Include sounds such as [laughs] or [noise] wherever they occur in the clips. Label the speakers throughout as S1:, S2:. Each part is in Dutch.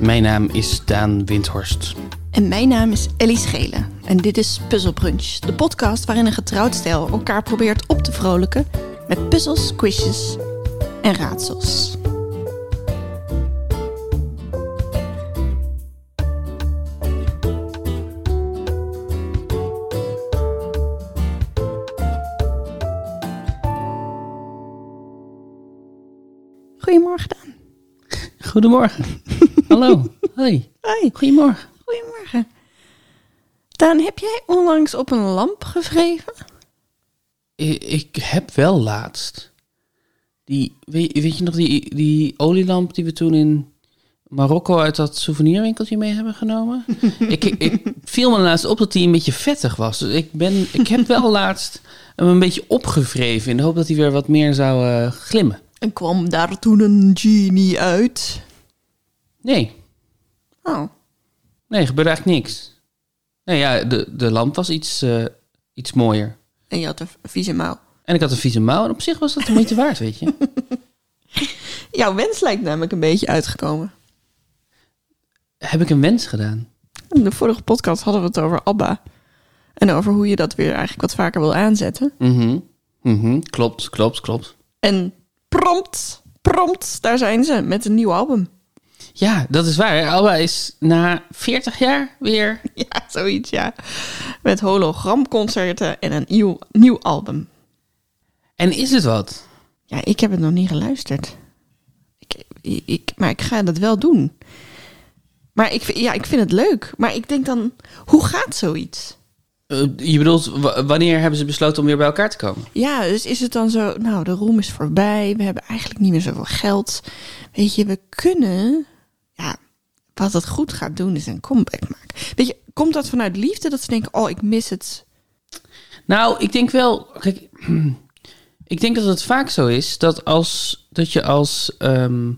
S1: Mijn naam is Daan Windhorst.
S2: En mijn naam is Ellie Schelen. En dit is Puzzle Brunch, de podcast waarin een getrouwd stijl elkaar probeert op te vrolijken met puzzels, quizjes en raadsels. Goedemorgen, Daan.
S1: Goedemorgen. [laughs] Hallo. Hoi.
S2: Hoi.
S1: Goedemorgen.
S2: Goedemorgen. Daan, heb jij onlangs op een lamp gevreven?
S1: Ik, ik heb wel laatst. Die, weet, weet je nog die, die olielamp die we toen in Marokko uit dat souvenirwinkeltje mee hebben [laughs] genomen? ik, ik, ik viel me laatst op dat die een beetje vettig was. Dus ik, ben, ik heb [laughs] wel laatst hem een beetje opgevreven in de hoop dat hij weer wat meer zou eh, glimmen.
S2: En kwam daar toen een genie uit?
S1: Nee,
S2: Oh,
S1: nee, gebeurde eigenlijk niks. Nou ja, de, de lamp was iets, eh, iets mooier.
S2: en je had een vieze mouw.
S1: En ik had een vieze mouw en op zich was dat de moeite waard, weet [laughs] je.
S2: Jouw wens lijkt namelijk een beetje uitgekomen.
S1: Heb ik een wens gedaan?
S2: In de vorige podcast hadden we het over ABBA. En over hoe je dat weer eigenlijk wat vaker wil aanzetten.
S1: Mhm. Mhm. Klopt, klopt, klopt.
S2: En prompt, prompt, daar zijn ze met een nieuw album. [laughs]
S1: Ja, dat is waar. Alba is na 40 jaar weer...
S2: Ja, zoiets, ja. Met hologramconcerten en een nieuw, nieuw album.
S1: En is het wat?
S2: Ja, ik heb het nog niet geluisterd. Ik, ik, maar ik ga dat wel doen. Maar ik, vind- ja, ik vind het leuk. Maar ik denk dan, hoe gaat zoiets?
S1: Eh, je bedoelt, wa- wanneer hebben ze besloten om weer bij elkaar te komen?
S2: Ja, dus is het dan zo, nou, de roem is voorbij. We hebben eigenlijk niet meer zoveel geld. Weet je, we kunnen... Ja, wat het goed gaat doen is een comeback maken. Weet je, komt dat vanuit liefde? Dat ze denken, oh, ik mis het.
S1: Nou, ik denk wel. Kijk, [clears throat] ik denk dat het vaak zo is dat als dat je als ehm,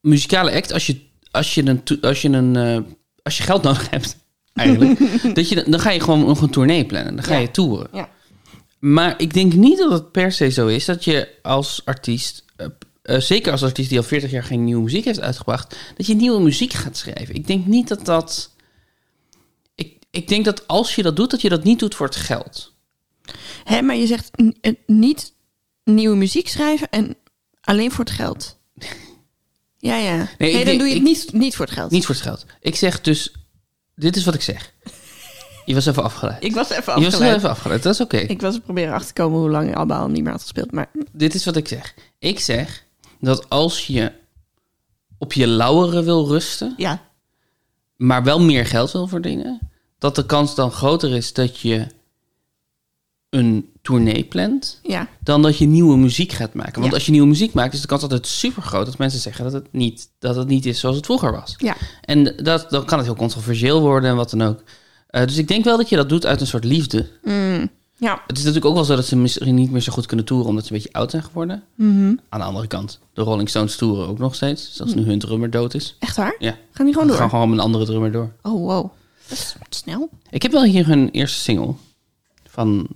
S1: muzikale act, als je, als je een, to- als je een eh, als je geld [laughs] nodig hebt, eigenlijk, [laughs] dat je, dan- dan ga je gewoon nog een tournee plannen. Dan ga
S2: Ja.
S1: je toeren.
S2: Ja.
S1: Maar ik denk niet dat het per se zo is dat je als artiest. eh, eh, zeker als artiest die al 40 jaar geen nieuwe muziek heeft uitgebracht, dat je nieuwe muziek gaat schrijven. Ik denk niet dat dat. Ik, ik denk dat als je dat doet, dat je dat niet doet voor het geld.
S2: Hè, maar je zegt n- eh, niet nieuwe muziek schrijven en alleen voor het
S1: [laughs]
S2: geld. Ja, ja. Nee,
S1: ik
S2: dan
S1: denk-
S2: doe je
S1: ik-
S2: het niet, niet voor het geld.
S1: Niet voor het geld. Ik zeg dus, dit is wat ik zeg. Je was even afgeleid.
S2: Ik was even
S1: Je was wel
S2: afgeleid.
S1: even afgeleid, dat is oké.
S2: Ik was proberen achter te komen hoe lang Abba al niet meer had gespeeld. Maar
S1: Dit is wat ik zeg. Ik zeg dat als je op je lauweren wil rusten,
S2: ja,
S1: maar wel meer geld wil verdienen, dat de kans dan groter is dat je een tournee plant,
S2: ja.
S1: dan dat je nieuwe muziek gaat maken. Want
S2: Ja.
S1: als je nieuwe muziek maakt, is de kans altijd super groot dat mensen zeggen dat het niet, dat het niet is zoals het vroeger was.
S2: Ja.
S1: En dat, dan kan het heel controversieel worden en wat dan ook. Eh, dus ik denk wel dat je dat doet uit een soort liefde.
S2: Ja.
S1: Het is natuurlijk ook wel zo dat ze misschien niet meer zo goed kunnen toeren omdat ze een beetje oud zijn geworden.
S2: Mhm.
S1: Aan de andere kant, de Rolling Stones toeren ook nog steeds. Dus als nu hun drummer dood is.
S2: Echt waar?
S1: Ja,
S2: Gaan die Hm. gewoon
S1: dan
S2: door?
S1: gaan gewoon met een andere drummer door.
S2: Oh, wow. Dat is snel.
S1: Ik heb wel hier hun eerste single van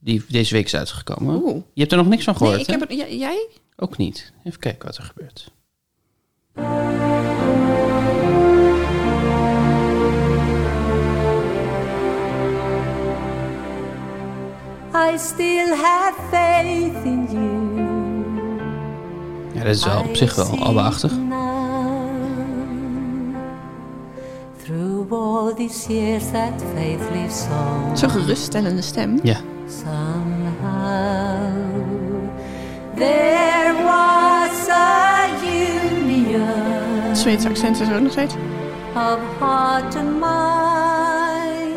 S1: die deze week is uitgekomen.
S2: Oeh.
S1: Je hebt er nog niks van gehoord,
S2: Nee, ik
S1: hè?
S2: heb het, j- jij?
S1: Ook niet. Even kijken wat er gebeurt.
S3: I still have faith in you.
S1: Ja, dat is wel op zich wel alba-achtig.
S3: Through all these years that faith lives on.
S2: Zo'n geruststellende stem.
S1: Ja.
S3: Somehow there was a union
S2: Het Zweedse accent is er ook nog steeds.
S3: of heart and mind,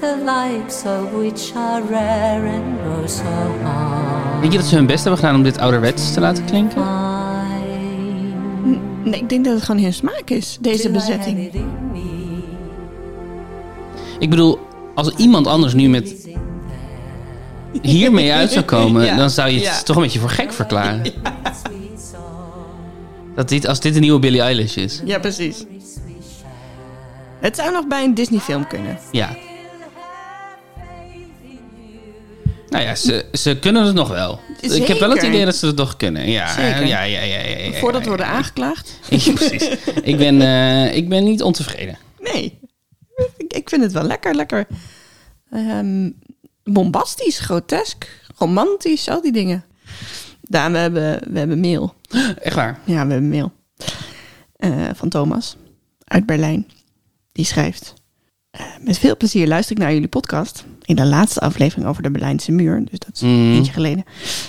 S3: the likes of which are rare and oh so hard.
S1: Denk je dat ze hun best hebben gedaan om dit ouderwets te laten klinken?
S3: Mine.
S2: Nee, ik denk dat het gewoon heel smaak is, deze
S3: Do I have
S2: bezetting.
S3: it in me?
S1: Ik bedoel, als iemand anders nu met
S2: [laughs]
S1: hiermee uit zou komen,
S2: Ja.
S1: dan zou je het
S2: Ja.
S1: toch een beetje voor gek
S2: [laughs]
S1: verklaren. Dat dit, als dit een nieuwe Billie Eilish is.
S2: Ja, precies. Het zou nog bij een Disney-film kunnen.
S1: Ja. Nou ja, ze, ze kunnen het nog wel. Ik heb wel het
S2: Zeker.
S1: idee dat ze het nog kunnen. Ja,
S2: Zeker.
S1: ja, ja, ja, ja, ja, ja.
S2: Voordat we
S1: ja.
S2: worden aangeklaagd?
S1: [laughs] Ik- precies. Ik ben, eh, ik ben niet ontevreden.
S2: Nee. Ik, ik vind het wel lekker, lekker. ehm, bombastisch, grotesk, romantisch, al die dingen. Daan, we hebben, we hebben mail.
S1: Echt waar.
S2: Ja, we hebben mail. Eh, van Thomas uit Berlijn. Die schrijft. eh, Met veel plezier luister ik naar jullie podcast. In de laatste aflevering over de Berlijnse muur, dus dat is
S1: Mm.
S2: eentje geleden,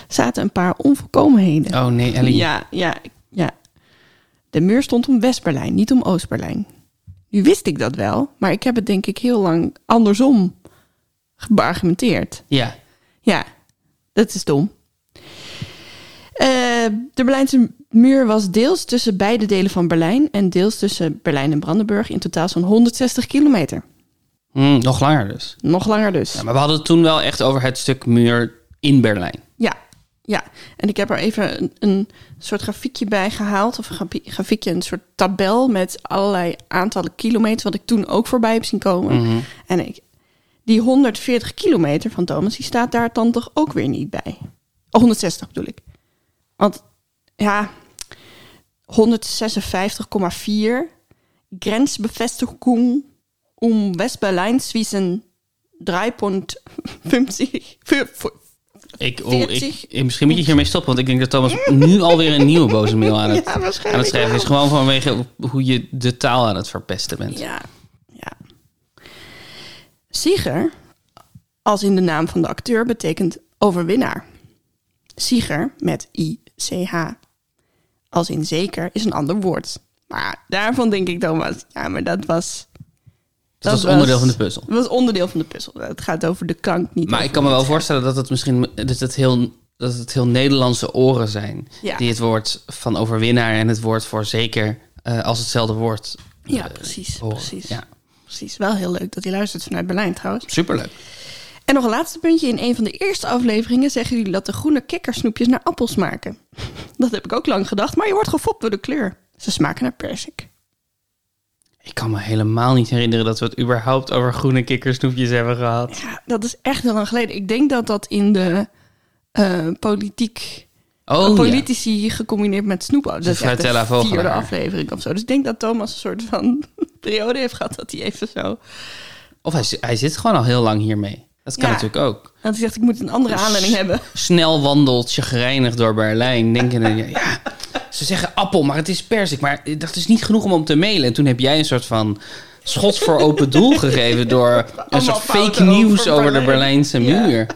S2: zaten een paar onvolkomenheden.
S1: Oh nee, Ellie.
S2: Ja, ja, ja. De muur stond om West-Berlijn, niet om Oost-Berlijn. Nu wist ik dat wel, maar ik heb het denk ik heel lang andersom geargumenteerd.
S1: Ja.
S2: Ja, dat is dom. Eh, de Berlijnse muur was deels tussen beide delen van Berlijn en deels tussen Berlijn en Brandenburg in totaal zo'n 160 kilometer.
S1: Hm, nog langer dus.
S2: Nog langer dus.
S1: Ja, maar we hadden het toen wel echt over het stuk muur in Berlijn.
S2: Ja, ja. En ik heb er even een, een soort grafiekje bij gehaald. Of een grafie- grafiekje, een soort tabel met allerlei aantallen kilometer. Wat ik toen ook voorbij heb zien komen. En ik, die 140 kilometer van Thomas, die staat daar dan toch ook weer niet bij. Oh, 160 bedoel ik. Want ja, 156,4 Grenzbevestigung um West-Berlijn zwischen [laughs] 3,50 voor-
S1: Ik, oh, ik,
S2: 40.
S1: eh, misschien moet je hiermee stoppen, want ik denk dat Thomas nu alweer een nieuwe boze mail aan het,
S2: Ja,
S1: aan het
S2: waarschijnlijk
S1: schrijven is.
S2: wel.
S1: Gewoon vanwege hoe je de taal aan het verpesten bent.
S2: Ja, ja. Sieger, als in de naam van de acteur, betekent overwinnaar. Sieger met I-C-H. Als in zeker is een ander woord. Maar daarvan denk ik, Thomas, ja, maar dat was...
S1: dat was onderdeel van de puzzel.
S2: Dat was onderdeel van de puzzel. Het gaat over de klank, niet
S1: Maar
S2: over
S1: ik kan me
S2: het-
S1: wel voorstellen dat het misschien dat het heel, dat het heel Nederlandse oren zijn.
S2: Ja.
S1: Die het woord van overwinnaar en het woord voor zeker eh, als hetzelfde woord eh,
S2: Ja, precies,
S1: horen.
S2: precies.
S1: Ja,
S2: Precies, wel heel leuk dat hij luistert vanuit Berlijn trouwens.
S1: superleuk.
S2: En nog een laatste puntje. In een van de eerste afleveringen zeggen jullie dat de groene kikkersnoepjes naar appels smaken. [laughs] Dat heb ik ook lang gedacht, maar je wordt gefopt door de kleur. Ze smaken naar persik.
S1: Ik kan me helemaal niet herinneren dat we het überhaupt over groene kikkersnoepjes hebben gehad.
S2: Ja, dat is echt heel lang geleden. Ik denk dat dat in de eh, politiek...
S1: Oh, ja.
S2: politici gecombineerd met snoep. oh, Dat is echt
S1: Fruitella
S2: de vierde
S1: Vogelaar.
S2: aflevering of zo. Dus ik denk dat Thomas een soort van [laughs] periode heeft gehad dat hij even zo...
S1: Of hij, hij zit gewoon al heel lang hiermee. Dat kan
S2: Ja.
S1: natuurlijk ook.
S2: Dat hij zegt, ik moet een andere
S1: Dus
S2: aanleiding hebben.
S1: Snel wandelt, chagrijnig door Berlijn,
S2: [laughs]
S1: denkende... ja, ja, ze zeggen appel, maar het is persik. Maar dat is niet genoeg om hem te mailen. En toen heb jij een soort van schots voor open
S2: [laughs]
S1: doel gegeven... door een soort fake
S2: fouten
S1: nieuws
S2: over
S1: over, de
S2: Berlijn.
S1: Berlijnse
S2: Ja.
S1: muur.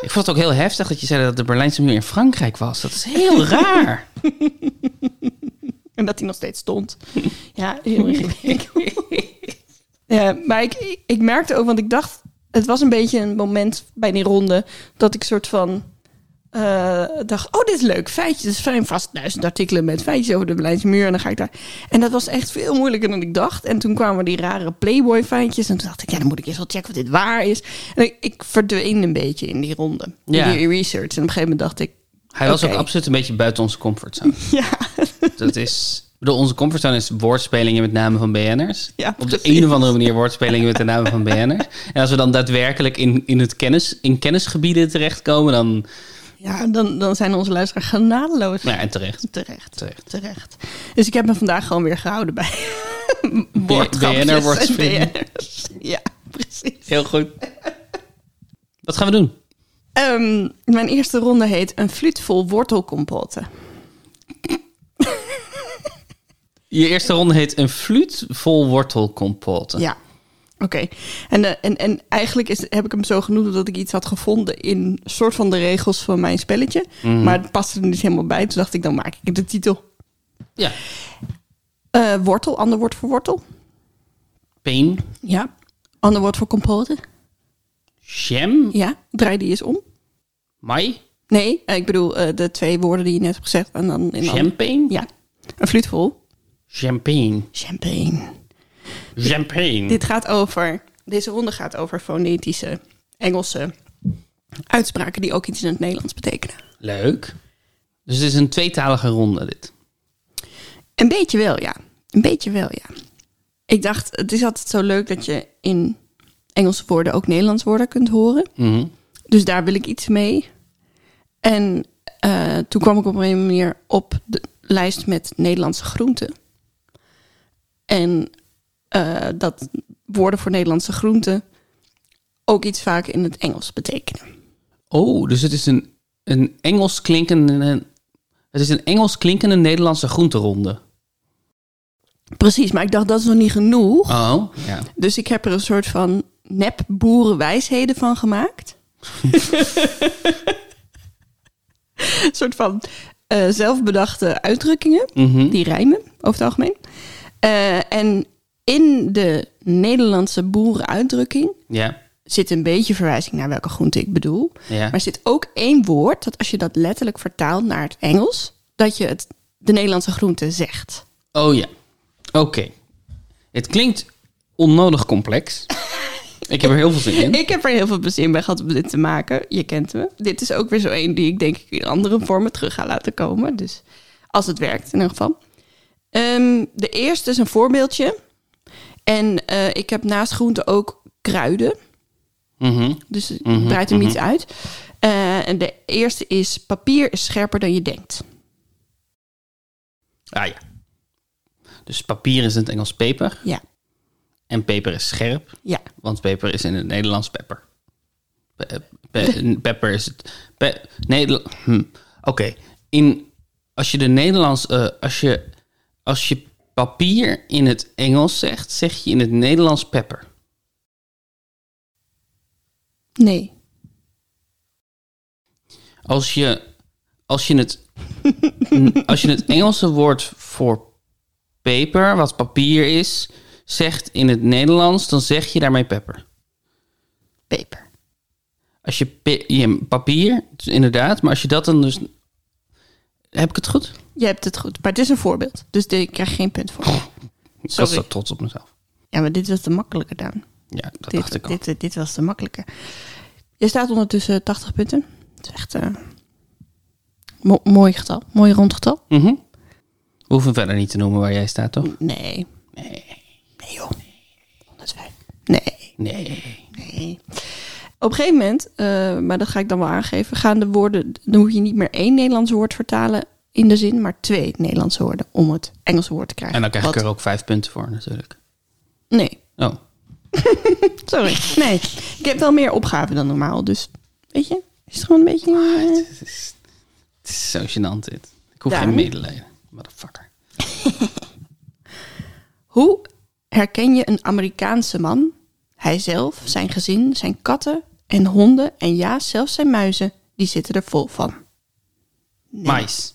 S1: Ik vond het ook heel heftig dat je zei dat de Berlijnse muur in Frankrijk was. Dat is
S2: [laughs]
S1: heel raar.
S2: En dat hij nog steeds
S1: [laughs]
S2: stond. Ja, heel ingewikkeld. [laughs] ja, maar ik, ik merkte ook, want ik dacht... Het was een beetje een moment bij die ronde... dat ik soort van eh, dacht... oh, dit is leuk, feitjes. Het is fijn, vast duizend artikelen met feitjes over de Berlijnse muur. En dan ga ik daar... En dat was echt veel moeilijker dan ik dacht. En toen kwamen die rare Playboy-feitjes. En toen dacht ik, ja, dan moet ik eerst wel checken of dit waar is. En ik, ik verdween een beetje in die ronde.
S1: Ja.
S2: In die research. En op een gegeven moment dacht ik...
S1: Hij was
S2: Oké.
S1: ook absoluut een beetje buiten onze comfortzone.
S2: [laughs] Ja,
S1: Dat is... Ik bedoel, onze comfortzone is woordspelingen met namen van BN'ers.
S2: Ja,
S1: Op de
S2: precies.
S1: een of andere manier woordspelingen met de namen van
S2: [laughs]
S1: BN'ers. En als we dan daadwerkelijk in, in, het kennis, in kennisgebieden terechtkomen, dan...
S2: ja dan, dan zijn onze luisteraars genadeloos.
S1: Nou ja, en terecht.
S2: Terecht.
S1: Terecht.
S2: Terecht. Dus ik heb me vandaag gewoon weer gehouden bij woordgrapjes
S1: BN'er
S2: en
S1: woordspelen.
S2: BN'ers. Ja, precies.
S1: Heel goed. Wat gaan we doen?
S2: Ehm, mijn eerste ronde heet een fluit vol wortelcompoten.
S1: Je eerste ronde heet een fluit vol wortelcompote.
S2: Ja. Oké. En, eh, en, en eigenlijk is, heb ik hem zo genoemd omdat ik iets had gevonden in soort van de regels van mijn spelletje. Maar het paste er niet helemaal bij. Toen dacht ik, dan maak ik de titel.
S1: Ja.
S2: Eh, wortel, ander woord voor wortel.
S1: Peen.
S2: Ja. Ander woord voor compoten.
S1: Jam.
S2: Ja. Draai die eens om.
S1: Mai.
S2: Nee, eh, ik bedoel eh, de twee woorden die je net hebt gezegd. En dan in andere-
S1: Champagne.
S2: Ja, een fluit vol.
S1: Champagne.
S2: Champagne.
S1: Champagne.
S2: Dit gaat over, deze ronde gaat over fonetische Engelse uitspraken die ook iets in het Nederlands betekenen.
S1: Leuk. Dus het is een tweetalige ronde, dit.
S2: Een beetje wel, ja. Een beetje wel, ja. Ik dacht, het is altijd zo leuk dat je in Engelse woorden ook Nederlands woorden kunt horen.
S1: Mhm.
S2: Dus daar wil ik iets mee. En eh, toen kwam ik op een manier op de lijst met Nederlandse groenten. En eh, dat woorden voor Nederlandse groenten ook iets vaak in het Engels betekenen.
S1: Oh, dus het is een, een Engels klinkende... Het is een Engels klinkende Nederlandse groenteronde.
S2: Precies, maar ik dacht dat is nog niet genoeg.
S1: Oh, ja.
S2: Dus ik heb er een soort van nep boerenwijsheden
S1: [laughs]
S2: van gemaakt. een soort van eh, zelfbedachte uitdrukkingen,
S1: Mhm.
S2: die rijmen over het algemeen. Eh, en in de Nederlandse boerenuitdrukking
S1: Ja,
S2: zit een beetje verwijzing naar welke groente ik bedoel.
S1: ja.
S2: Maar er zit ook één woord dat als je dat letterlijk vertaalt naar het Engels, dat je het, de Nederlandse groente zegt.
S1: Oh ja. Oké. Het klinkt onnodig complex. ik heb er heel veel
S2: [laughs]
S1: zin in.
S2: Ik heb er heel veel plezier bij gehad om dit te maken. Je kent me. Dit is ook weer zo één die ik denk ik in andere vormen terug ga laten komen. Dus als het werkt, in ieder geval. Ehm, de eerste is een voorbeeldje. En eh, ik heb naast groenten ook kruiden.
S1: Mhm.
S2: Dus het breidt hem iets uit. Eh, en de eerste is papier is scherper dan je denkt.
S1: Ah ja. Dus papier is in het Engels peper.
S2: Ja,
S1: En peper is scherp.
S2: ja.
S1: Want peper is in het Nederlands pepper. Pe- pe- [laughs] pepper is het. Pe Neder- hm. Oké. In- Als je de Nederlands. eh, als, je, als je papier in het Engels zegt, zeg je in het Nederlands pepper.
S2: Nee.
S1: Als je, als je, het, [laughs] als je het Engelse woord voor peper, wat papier is, zegt in het Nederlands, dan zeg je daarmee pepper.
S2: Peper.
S1: Als je, pe- je papier, inderdaad, maar als je dat dan dus. Heb ik het goed?
S2: Je hebt het goed. Maar het is een voorbeeld. Dus ik krijg geen punt voor.
S1: Ik
S2: Sorry.
S1: was zo trots op mezelf.
S2: Ja, maar dit was de makkelijke dan.
S1: Ja, dat
S2: dit,
S1: dacht ik al.
S2: dit, eh, dit, dit was de makkelijke. Je staat ondertussen 80 punten. Het is echt eh, mo- mooi getal. Mooi rond getal.
S1: Mhm. We hoeven verder niet te noemen waar jij staat, toch?
S2: Nee.
S1: Nee.
S2: Nee joh. 105. Nee.
S1: Nee.
S2: Nee. Op een gegeven moment, eh, maar dat ga ik dan wel aangeven, gaan de woorden, dan hoef je niet meer één Nederlands woord vertalen in de zin, maar twee Nederlandse woorden om het Engelse woord te krijgen.
S1: En dan krijg ik
S2: Wat-
S1: er ook vijf punten voor, natuurlijk.
S2: Nee,
S1: Oh,
S2: Eh? sorry. Nee, ik heb wel meer opgaven dan normaal, dus weet je, is het gewoon een beetje... eh,
S1: het is, het is zo gênant dit. Ik hoef
S2: Daarom?
S1: geen medelijden. Motherfucker.
S2: Hoe herken je een Amerikaanse man? Hij zelf, zijn gezin, zijn katten en honden en ja, zelfs zijn muizen, die zitten er vol van.
S1: Mais.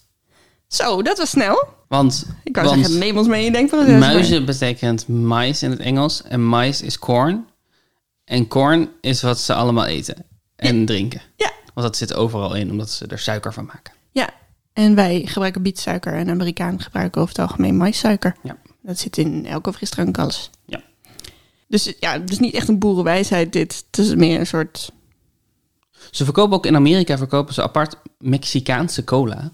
S2: Zo, dat was snel.
S1: Want,
S2: Ik kan
S1: want
S2: zeggen, neem ons mee, denk van het
S1: muizen betekent mais in het Engels. En mais is corn. En corn is wat ze allemaal eten en drinken.
S2: Ja,
S1: Want dat zit overal in, omdat ze er suiker van maken.
S2: ja. En wij gebruiken bietsuiker en Amerikanen gebruiken over het algemeen maïssuiker.
S1: Ja.
S2: Dat zit in elke frisdrank alles.
S1: Ja.
S2: Dus ja, het is niet echt een boerenwijsheid dit. Het is meer een soort...
S1: Ze verkopen ook in Amerika verkopen ze apart Mexicaanse cola.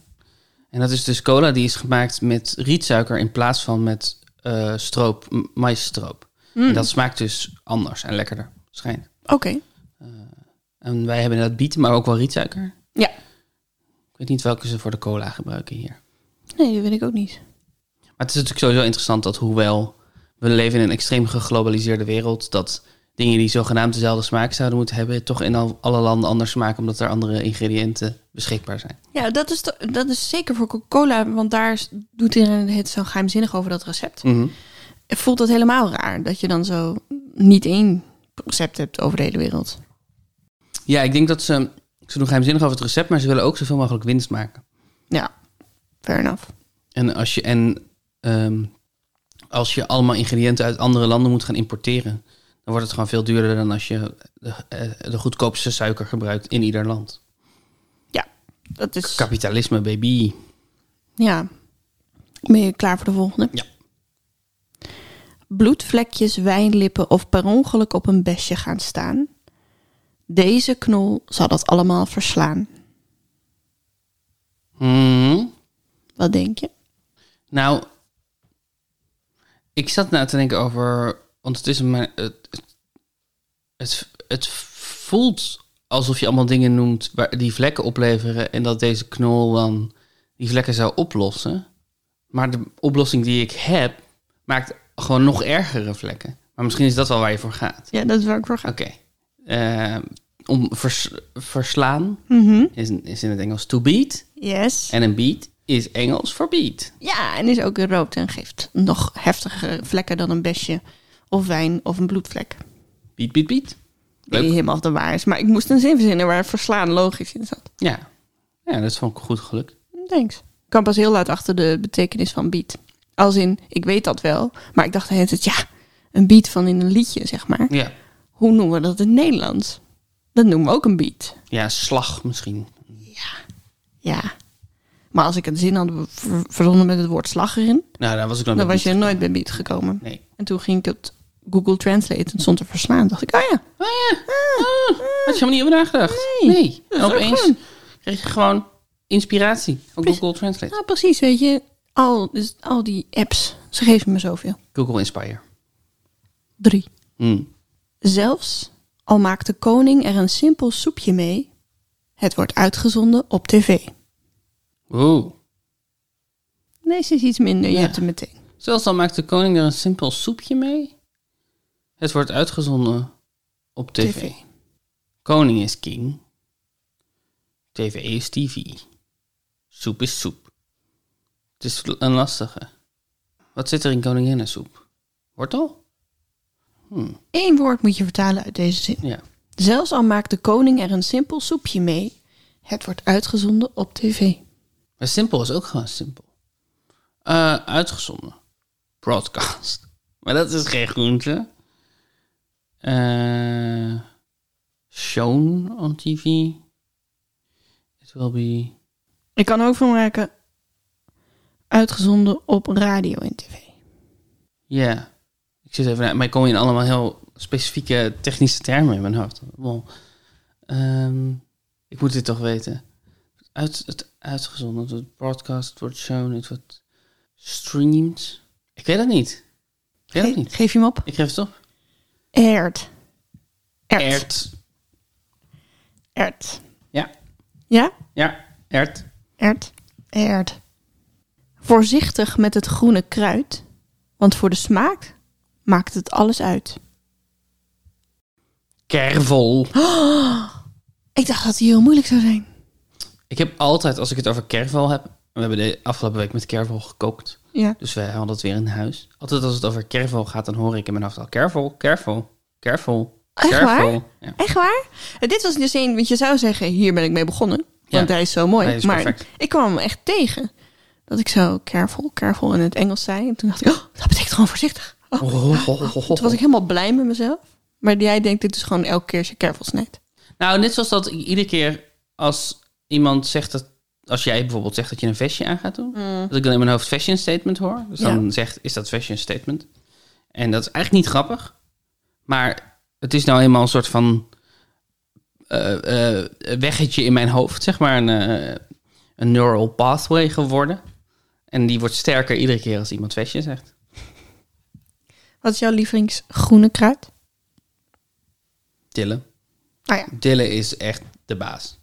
S1: En dat is dus cola die is gemaakt met rietsuiker in plaats van met eh, stroop, m- maïsstroop. En dat smaakt dus anders en lekkerder, schijnt.
S2: Oké,
S1: En wij hebben inderdaad bieten, maar ook wel rietsuiker.
S2: ja.
S1: Ik weet niet welke ze voor de cola gebruiken hier.
S2: Nee, dat weet ik ook niet.
S1: Maar het is natuurlijk sowieso interessant dat hoewel we leven in een extreem geglobaliseerde wereld, dat dingen die zogenaamd dezelfde smaak zouden moeten hebben, toch in al- alle landen anders smaken, omdat er andere ingrediënten beschikbaar zijn.
S2: Ja, dat is, to- dat is zeker voor Coca-Cola, want daar is- doet iedereen het zo geheimzinnig over dat recept. Voelt dat helemaal raar dat je dan zo niet één recept hebt over de hele wereld?
S1: Ja, ik denk dat ze. Ze doen geheimzinnig over het recept, maar ze willen ook zoveel mogelijk winst maken.
S2: Ja, fair enough.
S1: En als je, en, ehm, als je allemaal ingrediënten uit andere landen moet gaan importeren, dan wordt het gewoon veel duurder dan als je de, eh, de goedkoopste suiker gebruikt in ieder land.
S2: Ja, dat is.
S1: Kapitalisme, baby.
S2: Ja. Ben je klaar voor de volgende?
S1: Ja.
S2: Bloedvlekjes, wijnlippen of per ongeluk op een besje gaan staan. Deze knol zal dat allemaal verslaan.
S1: Hmm.
S2: Wat denk je?
S1: Nou, ik zat na te denken over. Want het is mijn. Het, het, het voelt alsof je allemaal dingen noemt waar, die vlekken opleveren en dat deze knol dan die vlekken zou oplossen. Maar de oplossing die ik heb maakt gewoon nog ergere vlekken. Maar misschien is dat wel waar je voor gaat.
S2: Ja, dat is waar ik voor ga.
S1: Oké. Eh, om vers- verslaan
S2: Mhm.
S1: is, is in het Engels to beat.
S2: Yes.
S1: En een beat is Engels voor beat.
S2: Ja, en is ook rood en geeft nog heftigere vlekken dan een besje of wijn of een bloedvlek.
S1: Beat, beat, beat.
S2: Die
S1: Leuk.
S2: helemaal de waar is. Maar ik moest een zin verzinnen waar verslaan logisch in zat.
S1: Ja. Ja, dat is van goed geluk.
S2: Thanks. Ik kwam pas heel laat achter de betekenis van beat. Als in, ik weet dat wel, maar ik dacht de hele tijd, ja, een beat van in een liedje, zeg maar.
S1: Ja.
S2: Hoe noemen we dat in het Nederlands? Dat noemen we ook een beat.
S1: Ja, slag misschien.
S2: Ja. Maar als ik een zin had ver- verzonnen met het woord slag erin,
S1: Nou, daar was ik dan
S2: dan
S1: met
S2: was je
S1: beat.
S2: nooit bij beat gekomen.
S1: Nee.
S2: En toen ging ik het Google Translate en stond er verslaan. dacht ik, oh ja,
S1: Oh ja. Ah, had je helemaal niet over nagedacht.
S2: Nee.
S1: En
S2: Dat is ook
S1: opeens
S2: gewoon.
S1: kreeg je gewoon inspiratie van Google Translate.
S2: nou precies, weet je. Al, dus al die apps, ze geven me zoveel.
S1: Google Inspire.
S2: Drie.
S1: Hm.
S2: Zelfs al maakt de koning er een simpel soepje mee, het wordt uitgezonden op tv.
S1: Oeh.
S2: Deze is iets minder, je
S1: Ja.
S2: hebt hem meteen.
S1: Zelfs dan maakt de koning er een simpel soepje mee. Het wordt uitgezonden op tv.
S2: TV.
S1: Koning is king. TV is tv. Soep is soep. Het is een lastige. Wat zit er in koninginnensoep? Wortel?
S2: Eén woord moet je vertalen uit deze zin.
S1: Ja.
S2: Zelfs al maakt de koning er een simpel soepje mee, het wordt uitgezonden op tv.
S1: Maar simpel is ook gewoon simpel. Eh, uitgezonden. Broadcast. [laughs] Maar dat is geen groente. Eh, shown on TV. It will be...
S2: Ik kan ook van maken uitgezonden op radio en tv.
S1: Ja. Ik zit even... na- Maar ik kom in allemaal heel specifieke technische termen in mijn hoofd. Wel, ehm, ik moet dit toch weten. Uit, het uitgezonden. Het wordt broadcast. Het wordt shown. Het wordt streamed. Ik weet het niet. Ik weet het
S2: Ge-
S1: niet.
S2: geef je hem op?
S1: Ik geef het op.
S2: Ert. Ert.
S1: Ert.
S2: Ert.
S1: Ja,
S2: Ja?
S1: ja, ert.
S2: Ert. Ert. Voorzichtig met het groene kruid, want voor de smaak maakt het alles uit.
S1: Kervel.
S2: Ik dacht dat die heel moeilijk zou zijn.
S1: Ik heb altijd, als ik het over kervel heb... We hebben de afgelopen week met kervel gekookt.
S2: Ja.
S1: Dus we hadden het weer in huis. Altijd als het over kervel gaat, dan hoor ik in mijn hoofd al... Kervel, kervel, kervel,
S2: Echt
S1: kervel.
S2: waar?
S1: Ja.
S2: Echt waar? Eh, Dit was dus een, want je zou zeggen, hier ben ik mee begonnen. Want
S1: Ja.
S2: hij is zo mooi.
S1: Hij is
S2: maar
S1: perfect.
S2: ik kwam hem echt tegen. Dat ik zo careful, careful in het Engels zei. En toen dacht ik, oh, dat betekent gewoon voorzichtig. Oh.
S1: Oh, oh, oh, oh, oh.
S2: Toen was ik helemaal blij met mezelf. Maar jij denkt, dit is gewoon elke keer als je careful snijdt.
S1: Nou, net zoals dat i- iedere keer als iemand zegt dat... Als jij bijvoorbeeld zegt dat je een vestje aan gaat doen... dat ik dan in mijn hoofd fashion statement hoor. Dus
S2: Ja.
S1: dan zegt, is dat fashion statement? En dat is eigenlijk niet grappig. Maar het is nou eenmaal een soort van... eh, eh, weggetje in mijn hoofd, zeg maar. Een, eh, een neural pathway geworden. En die wordt sterker iedere keer als iemand fashion zegt.
S2: Wat is jouw lievelingsgroene kruid?
S1: Dillen.
S2: Nou ja,
S1: Dillen is echt de baas.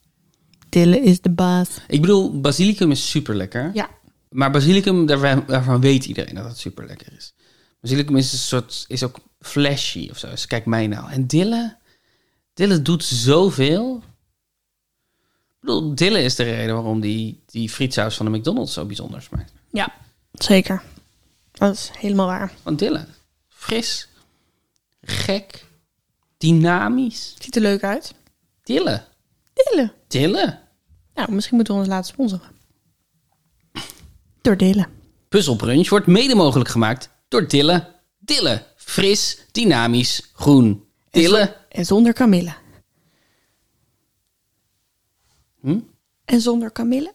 S2: Dille is de baas.
S1: Ik bedoel, basilicum is super lekker.
S2: Ja.
S1: Maar basilicum, daarvan, daarvan weet iedereen dat het super lekker is. Basilicum is een soort, is ook flashy of zo. Dus kijk mij nou. En Dille, Dille doet zoveel. Ik bedoel, Dille is de reden waarom die, die frietsaus van de McDonald's zo bijzonder smaakt.
S2: Ja, zeker. Dat is helemaal waar.
S1: Want Dille, fris, gek, dynamisch.
S2: Ziet er leuk uit.
S1: Dille,
S2: Dille.
S1: Dille.
S2: Nou, misschien moeten we ons laten sponsoren. Door Dille.
S1: Puzzelbrunch wordt mede mogelijk gemaakt door Dille. Dille, fris, dynamisch, groen. Dille,
S2: En zonder Camille.
S1: Hm?
S2: En zonder Camille?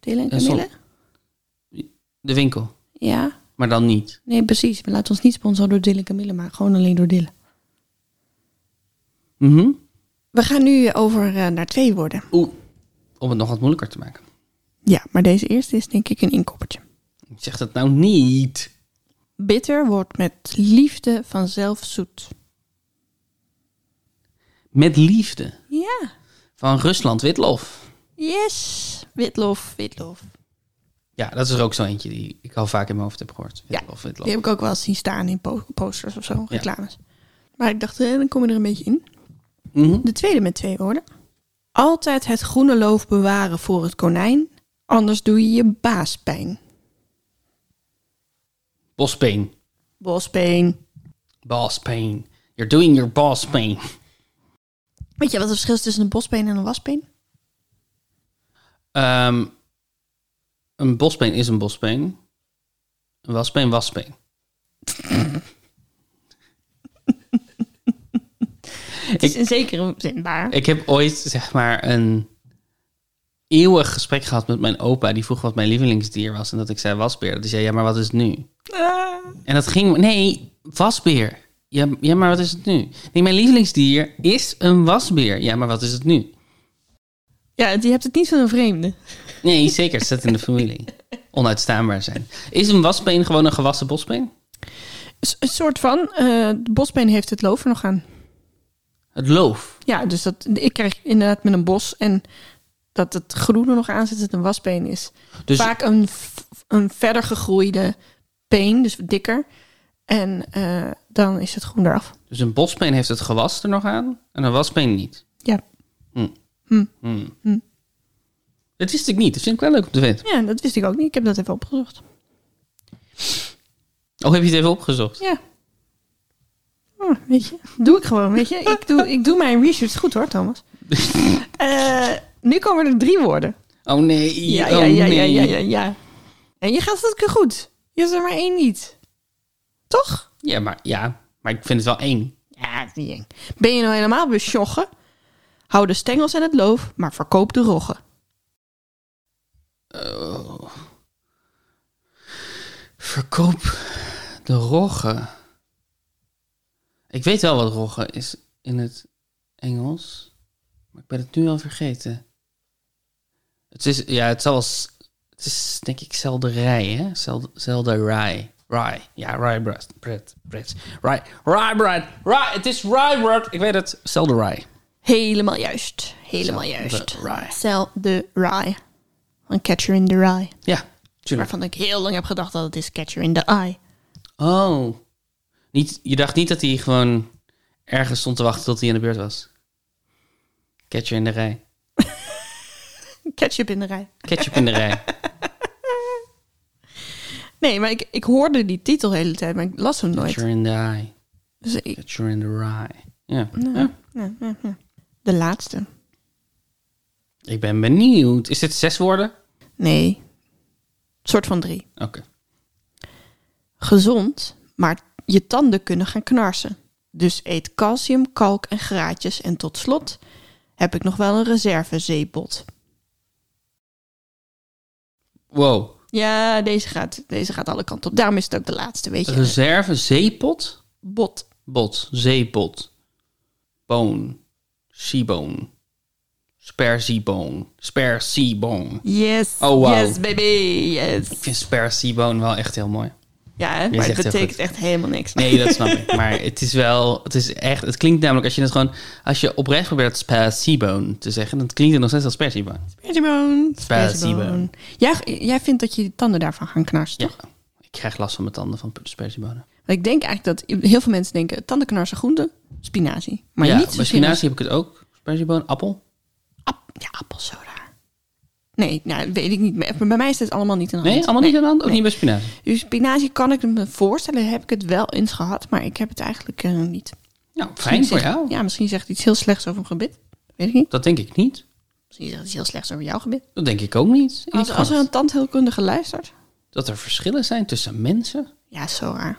S2: Dille en
S1: En zon-
S2: Camille?
S1: de winkel.
S2: Ja.
S1: Maar dan niet.
S2: Nee, precies. We laten ons niet sponsoren door Dille en Camille, maar gewoon alleen door Dille.
S1: Mhm.
S2: We gaan nu over eh, naar twee woorden.
S1: Oeh, om het nog wat moeilijker te maken.
S2: Ja, maar deze eerste is denk ik een inkoppertje.
S1: Ik zeg dat nou niet.
S2: Bitter wordt met liefde vanzelf zoet.
S1: Met liefde.
S2: Ja.
S1: Van Rusland Witlof.
S2: Yes. Witlof, Witlof.
S1: Ja, dat is er ook zo eentje die ik al vaak in mijn hoofd heb gehoord. Witlof, Witlof.
S2: Die heb ik ook wel eens zien staan in po- posters of zo,
S1: Ja.
S2: reclames. Maar ik dacht, eh, dan kom je er een beetje in.
S1: Mhm.
S2: De tweede met twee woorden. Altijd het groene loof bewaren voor het konijn, anders doe je je baas pijn.
S1: Boss pain.
S2: Bospeen.
S1: Boss pain. You're doing your boss pain.
S2: Weet je wat het verschil is tussen een bospeen en een waspeen?
S1: Ehm, een bospeen is een bospeen. Een waspeen, waspeen.
S2: Het is in zekere zin waar.
S1: Ik heb ooit, zeg maar, een eeuwig gesprek gehad met mijn opa. Die vroeg wat mijn lievelingsdier was. En dat ik zei wasbeer. Die zei, ja, maar wat is het nu?
S2: Ah.
S1: En dat ging... Nee, wasbeer. Ja, ja, maar wat is het nu? Nee, mijn lievelingsdier is een wasbeer. Ja, maar wat is het nu?
S2: Ja, je hebt het niet van een vreemde.
S1: Nee, zeker. Het zit in de familie. Onuitstaanbaar zijn. Is een waspeen gewoon een gewassen bospeen?
S2: S- Een soort van, eh, de bospeen heeft het loof er nog aan.
S1: Het loof.
S2: Ja, dus dat, ik krijg inderdaad met een bos en dat het groene nog aan zit, dat het een waspeen is.
S1: Dus
S2: Vaak een, v- een verder gegroeide peen, dus dikker. En eh, dan is het groen eraf.
S1: Dus een bospeen heeft het gewas er nog aan en een waspeen niet.
S2: Ja.
S1: Hmm. Dat wist ik niet. Dat vind ik wel leuk om te weten.
S2: ja, dat wist ik ook niet. Ik heb dat even opgezocht.
S1: Oh, heb je het even opgezocht?
S2: Ja. Oh, weet je, doe ik gewoon, weet je. Ik doe, ik doe mijn research goed hoor, Thomas. Eh, nu komen er drie woorden.
S1: Oh nee.
S2: Ja,
S1: oh,
S2: ja, ja, ja,
S1: nee.
S2: ja, ja, ja. En je gaat het keer goed. Je hebt er maar één niet. Toch?
S1: Ja, maar, ja, maar ik vind het wel eng.
S2: Ja, dat is niet eng. Ben je nou helemaal besjoggen? Hou de stengels en het loof, maar verkoop de roggen.
S1: Oh. Verkoop de rogge. Ik weet wel wat rogge is in het Engels, maar ik ben het nu al vergeten. Het is, ja, het zal als, het is denk ik selderij, hè? Sel- Selderij. Rye. Ja, ryebread. Bread. Bread. Rye. Ryebread. Rye. Het is ryebread. Ik weet het. Selderij.
S2: Helemaal juist. Helemaal
S1: Sell the
S2: juist.
S1: rye.
S2: Sell the rye. Een catcher in the rye.
S1: Ja, tuurlijk.
S2: Waarvan ik heel lang heb gedacht dat het is catcher in the eye.
S1: Oh. Niet, je dacht niet dat hij gewoon ergens stond te wachten tot hij in de beurt was. Ketchup in de rij.
S2: Ketchup in de rij.
S1: Ketchup in de rij.
S2: Nee, maar ik, ik hoorde die titel de hele tijd, maar ik las hem [laughs] nooit.
S1: Ketchup in de rij.
S2: Dus ik,
S1: Ketchup in de rij. Ja.
S2: Nou.
S1: ja.
S2: ja, ja, ja. De laatste.
S1: Ik ben benieuwd. Is dit zes woorden?
S2: Nee. soort van drie.
S1: Oké.
S2: Gezond, maar je tanden kunnen gaan knarsen. Dus eet calcium, kalk en graatjes. En tot slot heb ik nog wel een reserve zeepot.
S1: Wow.
S2: Ja, deze gaat, deze gaat alle kanten op. Daarom is het ook de laatste, weet je.
S1: Reserve zeepot?
S2: Bot.
S1: Bot. Zeepot. Boon. Seaboon. Sperzieboon. Sperzieboon.
S2: Yes.
S1: Oh, wauw.
S2: Yes, baby. Yes.
S1: Ik vind sperzieboon wel echt heel mooi.
S2: Ja, hè,
S1: Je
S2: maar het
S1: zegt heel
S2: betekent
S1: goed.
S2: echt helemaal niks.
S1: Nee, dat snap ik. Maar het is wel, het is echt, het klinkt namelijk als je het gewoon, als je oprecht probeert spacibone te zeggen, dan klinkt het nog steeds als spacibone.
S2: Spijsboon.
S1: Spijsboon.
S2: Jij, jij vindt dat je die tanden daarvan gaan knarsen,
S1: Ja.
S2: toch?
S1: Ik krijg last van mijn tanden van spacibone.
S2: Want ik denk eigenlijk dat heel veel mensen denken, tandenknarsen groente, spinazie. Maar
S1: ja,
S2: niet zo
S1: bij spinazie heb ik het ook. Spacibone, appel.
S2: Ap ja, appelsoda. Nee, nou, dat weet ik niet. Maar bij mij is het allemaal niet in de hand.
S1: Nee, allemaal niet aan de hand? Ook niet bij spinazie?
S2: Dus spinazie kan ik me voorstellen, heb ik het wel eens gehad, maar ik heb het eigenlijk eh, niet.
S1: Nou, fijn voor
S2: Misschien zegt-
S1: jou.
S2: Ja, misschien zegt het iets heel slechts over een gebit. Weet ik niet.
S1: Dat denk ik niet.
S2: Misschien zegt het iets heel slechts over jouw gebit.
S1: Dat denk ik ook niet. Ik
S2: Als,
S1: denk
S2: als er
S1: gewoon
S2: een tandheelkundige luistert.
S1: Dat er verschillen zijn tussen mensen.
S2: Ja, zo raar.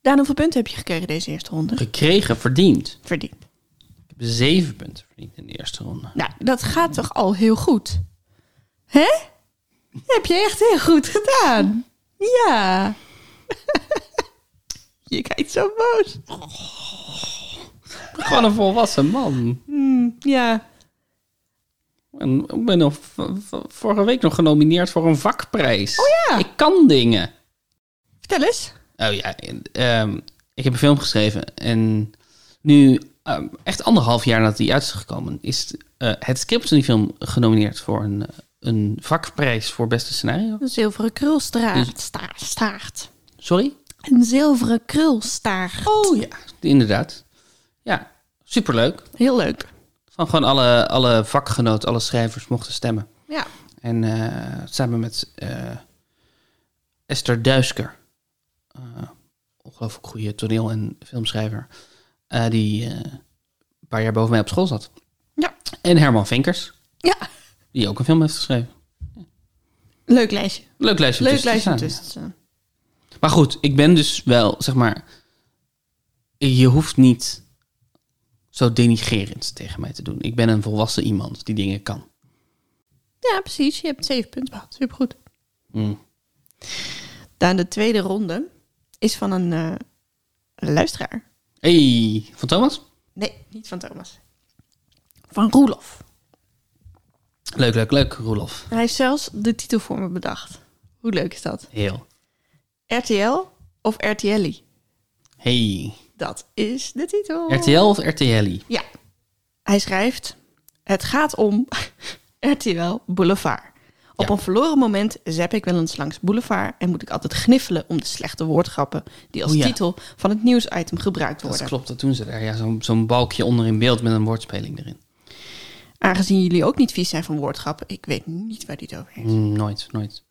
S2: Daan, hoeveel punten heb je gekregen deze eerste ronde?
S1: Gekregen, verdiend.
S2: Verdiend.
S1: Ik heb zeven punten verdiend in de eerste ronde.
S2: Nou, dat gaat toch al heel goed? Hè? Dat heb je echt heel goed gedaan. Ja. [laughs] je kijkt zo boos.
S1: Gewoon een volwassen man.
S2: Ja.
S1: En ik ben nog v- v- vorige week nog genomineerd voor een vakprijs. Oh
S2: ja.
S1: Ik kan dingen.
S2: Vertel eens.
S1: Oh ja, en, ehm, ik heb een film geschreven en nu ehm, echt anderhalf jaar nadat die uit is gekomen, is eh, het script van die film genomineerd voor een, eh, een vakprijs voor beste scenario.
S2: Een zilveren krulstaart. Sta, staart.
S1: Sorry?
S2: Een zilveren krulstaart.
S1: Oh ja, inderdaad. Ja, superleuk.
S2: Heel leuk.
S1: Van gewoon alle, alle vakgenoten, alle schrijvers mochten stemmen.
S2: Ja.
S1: En eh, samen met eh, Esther Duisker, eh, ongelooflijk goede toneel- en filmschrijver, eh, die eh, een paar jaar boven mij op school zat.
S2: Ja.
S1: En Herman Vinkers,
S2: Ja.
S1: die ook een film heeft geschreven.
S2: Leuk lijstje.
S1: Leuk lijstje. om
S2: Leuk
S1: tussen te
S2: lijstje om
S1: staan, ja.
S2: tussen te staan.
S1: Maar goed, ik ben dus wel, zeg maar, je hoeft niet zo denigerend tegen mij te doen. Ik ben een volwassen iemand die dingen kan.
S2: Ja, precies. Je hebt zeven punten gehad. Supergoed.
S1: Mm.
S2: Dan de tweede ronde is van een eh, luisteraar.
S1: Hey, van Thomas?
S2: Nee, niet van Thomas. Van Roelof.
S1: Leuk, leuk, leuk, Roelof.
S2: Hij heeft zelfs de titel voor me bedacht. Hoe leuk is dat?
S1: Heel.
S2: RTL of RTLI?
S1: Hey.
S2: Dat is de titel.
S1: RTL of RTL?
S2: Ja. Hij schrijft: Het gaat om [laughs] RTL Boulevard. Op
S1: Ja.
S2: een verloren moment zap ik wel eens langs Boulevard en moet ik altijd gniffelen om de slechte woordgrappen die als
S1: O Oh ja.
S2: titel van het nieuwsitem gebruikt
S1: Dat
S2: worden.
S1: klopt, dat doen ze daar. Ja, zo'n zo'n balkje onder in beeld met een woordspeling erin.
S2: Aangezien jullie ook niet vies zijn van woordgrappen, ik weet niet waar dit over heeft.
S1: Mm, nooit, nooit.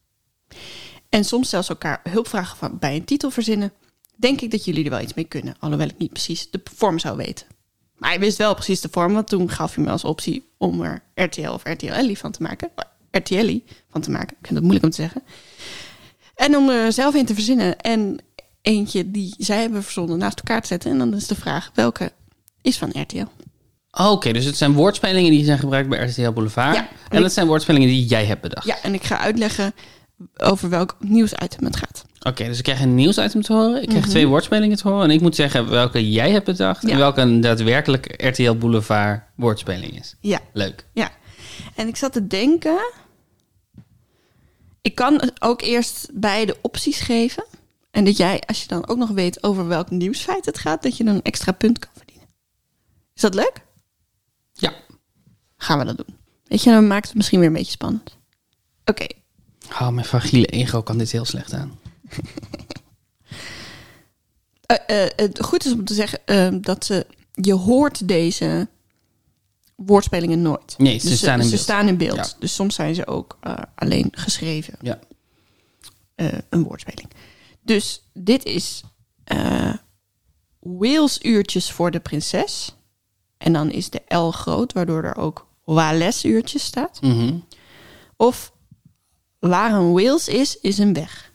S2: En soms zelfs elkaar hulp vragen van, bij een titel verzinnen, denk ik dat jullie er wel iets mee kunnen, alhoewel ik niet precies de vorm zou weten. Maar hij wist wel precies de vorm, want toen gaf hij me als optie om er RTL of RTLI van te maken. Oh, RTLI van te maken, ik vind het moeilijk om te zeggen. En om er zelf in te verzinnen en eentje die zij hebben verzonnen naast elkaar te zetten. En dan is de vraag, welke is van RTL?
S1: Oké, dus het zijn woordspelingen die zijn gebruikt bij RTL Boulevard.
S2: Ja.
S1: en het zijn woordspelingen die jij hebt bedacht.
S2: Ja, en ik ga uitleggen over welk nieuwsitem het gaat.
S1: Oké, dus ik krijg een nieuwsitem te horen. Ik krijg twee woordspelingen te horen. En ik moet zeggen welke jij hebt bedacht.
S2: Mhm. Ja.
S1: En welke een daadwerkelijk RTL Boulevard woordspeling is.
S2: Ja,
S1: Leuk.
S2: Ja. En ik zat te denken. Ik kan ook eerst beide opties geven. En dat jij, als je dan ook nog weet over welk nieuwsfeit het gaat, dat je dan een extra punt kan verdienen. Is dat leuk?
S1: Ja.
S2: Gaan we dat doen. Weet je, dan maakt het misschien weer een beetje spannend. Oké,
S1: Oh, mijn fragiele ego kan dit heel slecht aan.
S2: Eh, eh, het goed is om te zeggen eh, dat ze, je hoort deze woordspelingen nooit. Dus
S1: Nee, ze staan in
S2: ze
S1: beeld.
S2: staan in beeld.
S1: Ja.
S2: Dus soms zijn ze ook eh, alleen geschreven.
S1: Ja.
S2: eh, een woordspeling. Dus dit is eh Wales uurtjes voor de prinses. En dan is de L groot, waardoor er ook Wales uurtjes staat.
S1: Mhm.
S2: Of waar een Wales is, is een weg.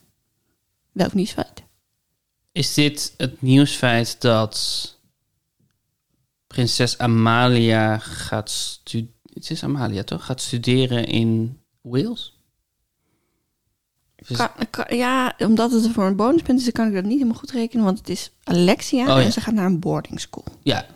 S2: Welk nieuwsfeit?
S1: Is dit het nieuwsfeit dat prinses Amalia gaat studeren... Het is Amalia, toch? Gaat studeren in Wales? Dus Of is-
S2: Kan- kan- ja, omdat het voor een bonuspunt is, kan ik dat niet helemaal goed rekenen. Want het is Alexia
S1: Oh, ja.
S2: en ze gaat naar een boarding school.
S1: Ja,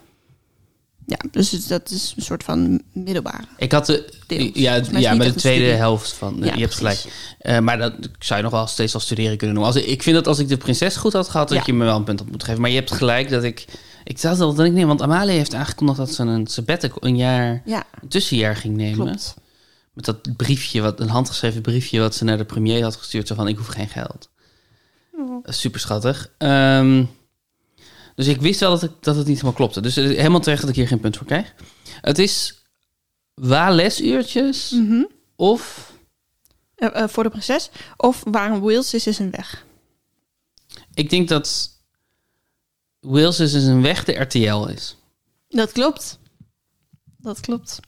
S2: Ja, dus het- dat is een soort van middelbare.
S1: Ik had de,
S2: Deels.
S1: ja,
S2: Volgens mij is
S1: ja
S2: het niet
S1: bij
S2: echt
S1: de
S2: een
S1: tweede
S2: studie.
S1: helft van.
S2: Ja,
S1: je hebt
S2: precies.
S1: gelijk. Eh, maar dat zou je nog wel steeds als studeren kunnen noemen. Als, ik vind dat als ik de prinses goed had gehad, dat
S2: Ja.
S1: je me wel een punt had moeten geven. Maar je hebt gelijk dat ik. Ik dacht al dat ik neem, want Amalie heeft aangekondigd dat ze een sabbatical, een jaar,
S2: Ja,
S1: een tussenjaar ging nemen.
S2: klopt.
S1: Met dat briefje, wat, een handgeschreven briefje wat ze naar de premier had gestuurd. Zo van, ik hoef geen geld. Super schattig. Ehm, dus ik wist wel dat, ik, dat het niet helemaal klopte. Dus eh, helemaal terecht dat ik hier geen punt voor krijg. Het is waar lesuurtjes of...
S2: Eh, eh, voor de prinses. Of waar een Wales is, is een weg.
S1: Ik denk dat Wales is een weg de RTL is.
S2: Dat klopt. Dat klopt.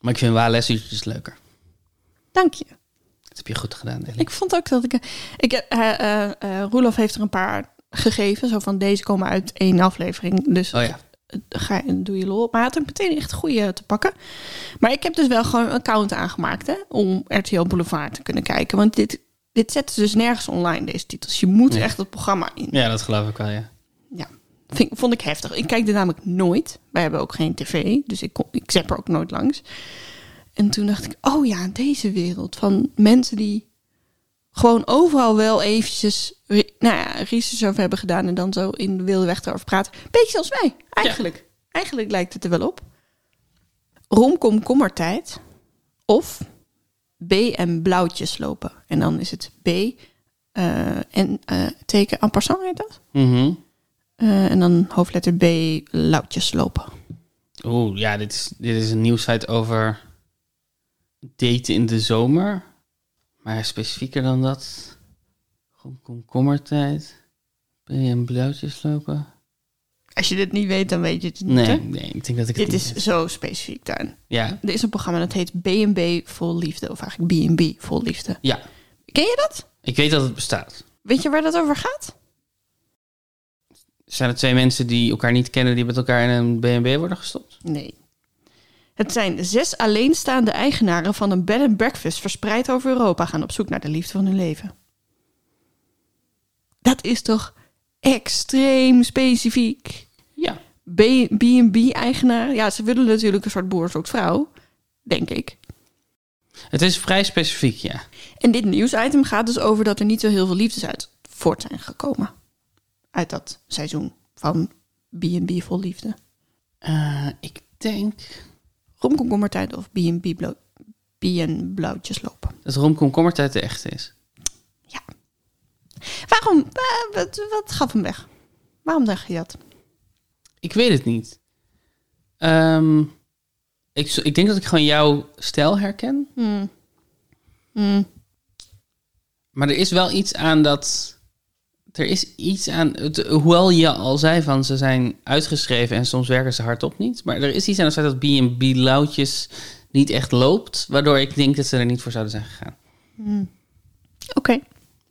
S1: Maar ik vind waar lesuurtjes leuker.
S2: Dank je.
S1: Dat heb je goed gedaan, Ellie.
S2: Ik vond ook dat ik... ik eh, eh, eh, Roelof heeft er een paar gegeven. Zo van, deze komen uit één aflevering. Dus
S1: Oh ja.
S2: eh, ga, doe je lol. Maar hij had ook meteen echt goede te pakken. Maar ik heb dus wel gewoon een account aangemaakt... Hè, om RTL Boulevard te kunnen kijken. Want dit, dit zetten ze dus nergens online, deze titels. Je moet
S1: Nee.
S2: echt het programma in.
S1: Ja, dat geloof ik wel, ja.
S2: Ja, vind, vond ik heftig. Ik kijk er namelijk nooit. Wij hebben ook geen tv, dus ik, kon, ik zap er ook nooit langs. En toen dacht ik, oh ja, deze wereld van mensen die gewoon overal wel eventjes re- nou ja, research over hebben gedaan en dan zo in de wilde weg erover praten. Beetje zoals wij, eigenlijk. Eigenlijk lijkt het er wel op. Romkom kommertijd. Of B en blauwtjes lopen. En dan is het B eh, en eh, teken en passant heet dat.
S1: Mhm.
S2: Eh, en dan hoofdletter B, lauwtjes lopen.
S1: Oeh, ja, dit is, dit is een nieuwsite over daten in de zomer. Maar specifieker dan dat. Gewoon komkommertijd. Ben je een blauwtjes lopen?
S2: Als je dit niet weet, dan weet je het niet.
S1: Nee,
S2: hè?
S1: nee, ik denk dat ik het
S2: Dit
S1: niet
S2: is
S1: weet.
S2: zo specifiek daarin.
S1: Ja,
S2: Er is een programma dat heet B&B Vol Liefde. Of eigenlijk B&B Vol Liefde.
S1: ja,
S2: Ken je dat?
S1: ik weet dat het bestaat.
S2: Weet je waar dat over gaat?
S1: Zijn er twee mensen die elkaar niet kennen die met elkaar in een B&B worden gestopt?
S2: Nee. Het zijn zes alleenstaande eigenaren van een bed and breakfast verspreid over Europa gaan op zoek naar de liefde van hun leven. Dat is toch extreem specifiek.
S1: Ja.
S2: B- B&B-eigenaar. Ja, ze willen natuurlijk een soort boer zoekt vrouw, denk ik.
S1: Het is vrij specifiek, ja.
S2: En dit nieuwsitem gaat dus over dat er niet zo heel veel liefdes uit voort zijn gekomen. Uit dat seizoen van B&B vol liefde.
S1: Eh, ik denk
S2: Romkomkommertijd of B&B blo- B&B blauwtjes lopen.
S1: dat romkomkommertijd de echte is.
S2: Ja. Waarom? wa- Wat, wat gaf hem weg? Waarom dacht je dat?
S1: Ik weet het niet. Ehm, ik, z- ik denk dat ik gewoon jouw stijl herken. Maar er is wel iets aan dat. Er is iets aan. Het, hoewel je al zei van ze zijn uitgeschreven en soms werken ze hardop niet. Maar er is iets aan het feit dat B&B loutjes niet echt loopt. Waardoor ik denk dat ze er niet voor zouden zijn gegaan.
S2: Oké.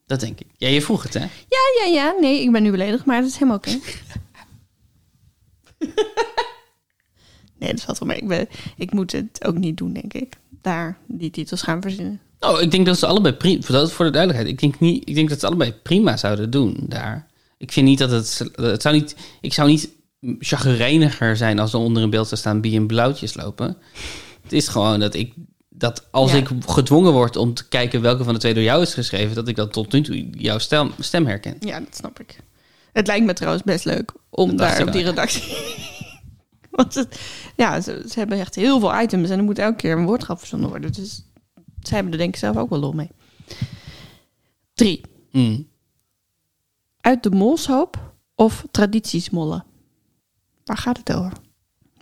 S1: Dat denk ik. Ja, je vroeg het hè?
S2: Ja, ja, ja. Nee, ik ben nu beledigd, maar dat is helemaal oké. [laughs] nee, dat valt wel mee. Ik, ben, ik moet het ook niet doen, denk ik. Daar die titels gaan verzinnen.
S1: Nou, ik denk dat ze allebei prima. Voor, dat- voor de duidelijkheid, ik denk, niet, ik denk dat ze allebei prima zouden doen daar. Ik vind niet dat het. het zou niet, ik zou niet chagrijniger zijn als er onder een beeld zou staan en blauwtjes lopen. Het is gewoon dat ik. Dat als
S2: Ja.
S1: ik gedwongen word om te kijken welke van de twee door jou is geschreven, dat ik dat tot nu toe jouw stem, stem herken.
S2: Ja, dat snap ik. Het lijkt me trouwens best leuk om
S1: Dat dacht
S2: daar
S1: ik
S2: op die
S1: wel,
S2: redactie... [laughs] Want het, ja, ze, ze hebben echt heel veel items en er moet elke keer een woordgrap verzonnen worden. Dus ze hebben er denk ik zelf ook wel lol mee. Drie.
S1: Mm.
S2: Uit de molshoop of tradities mollen? Waar gaat het over?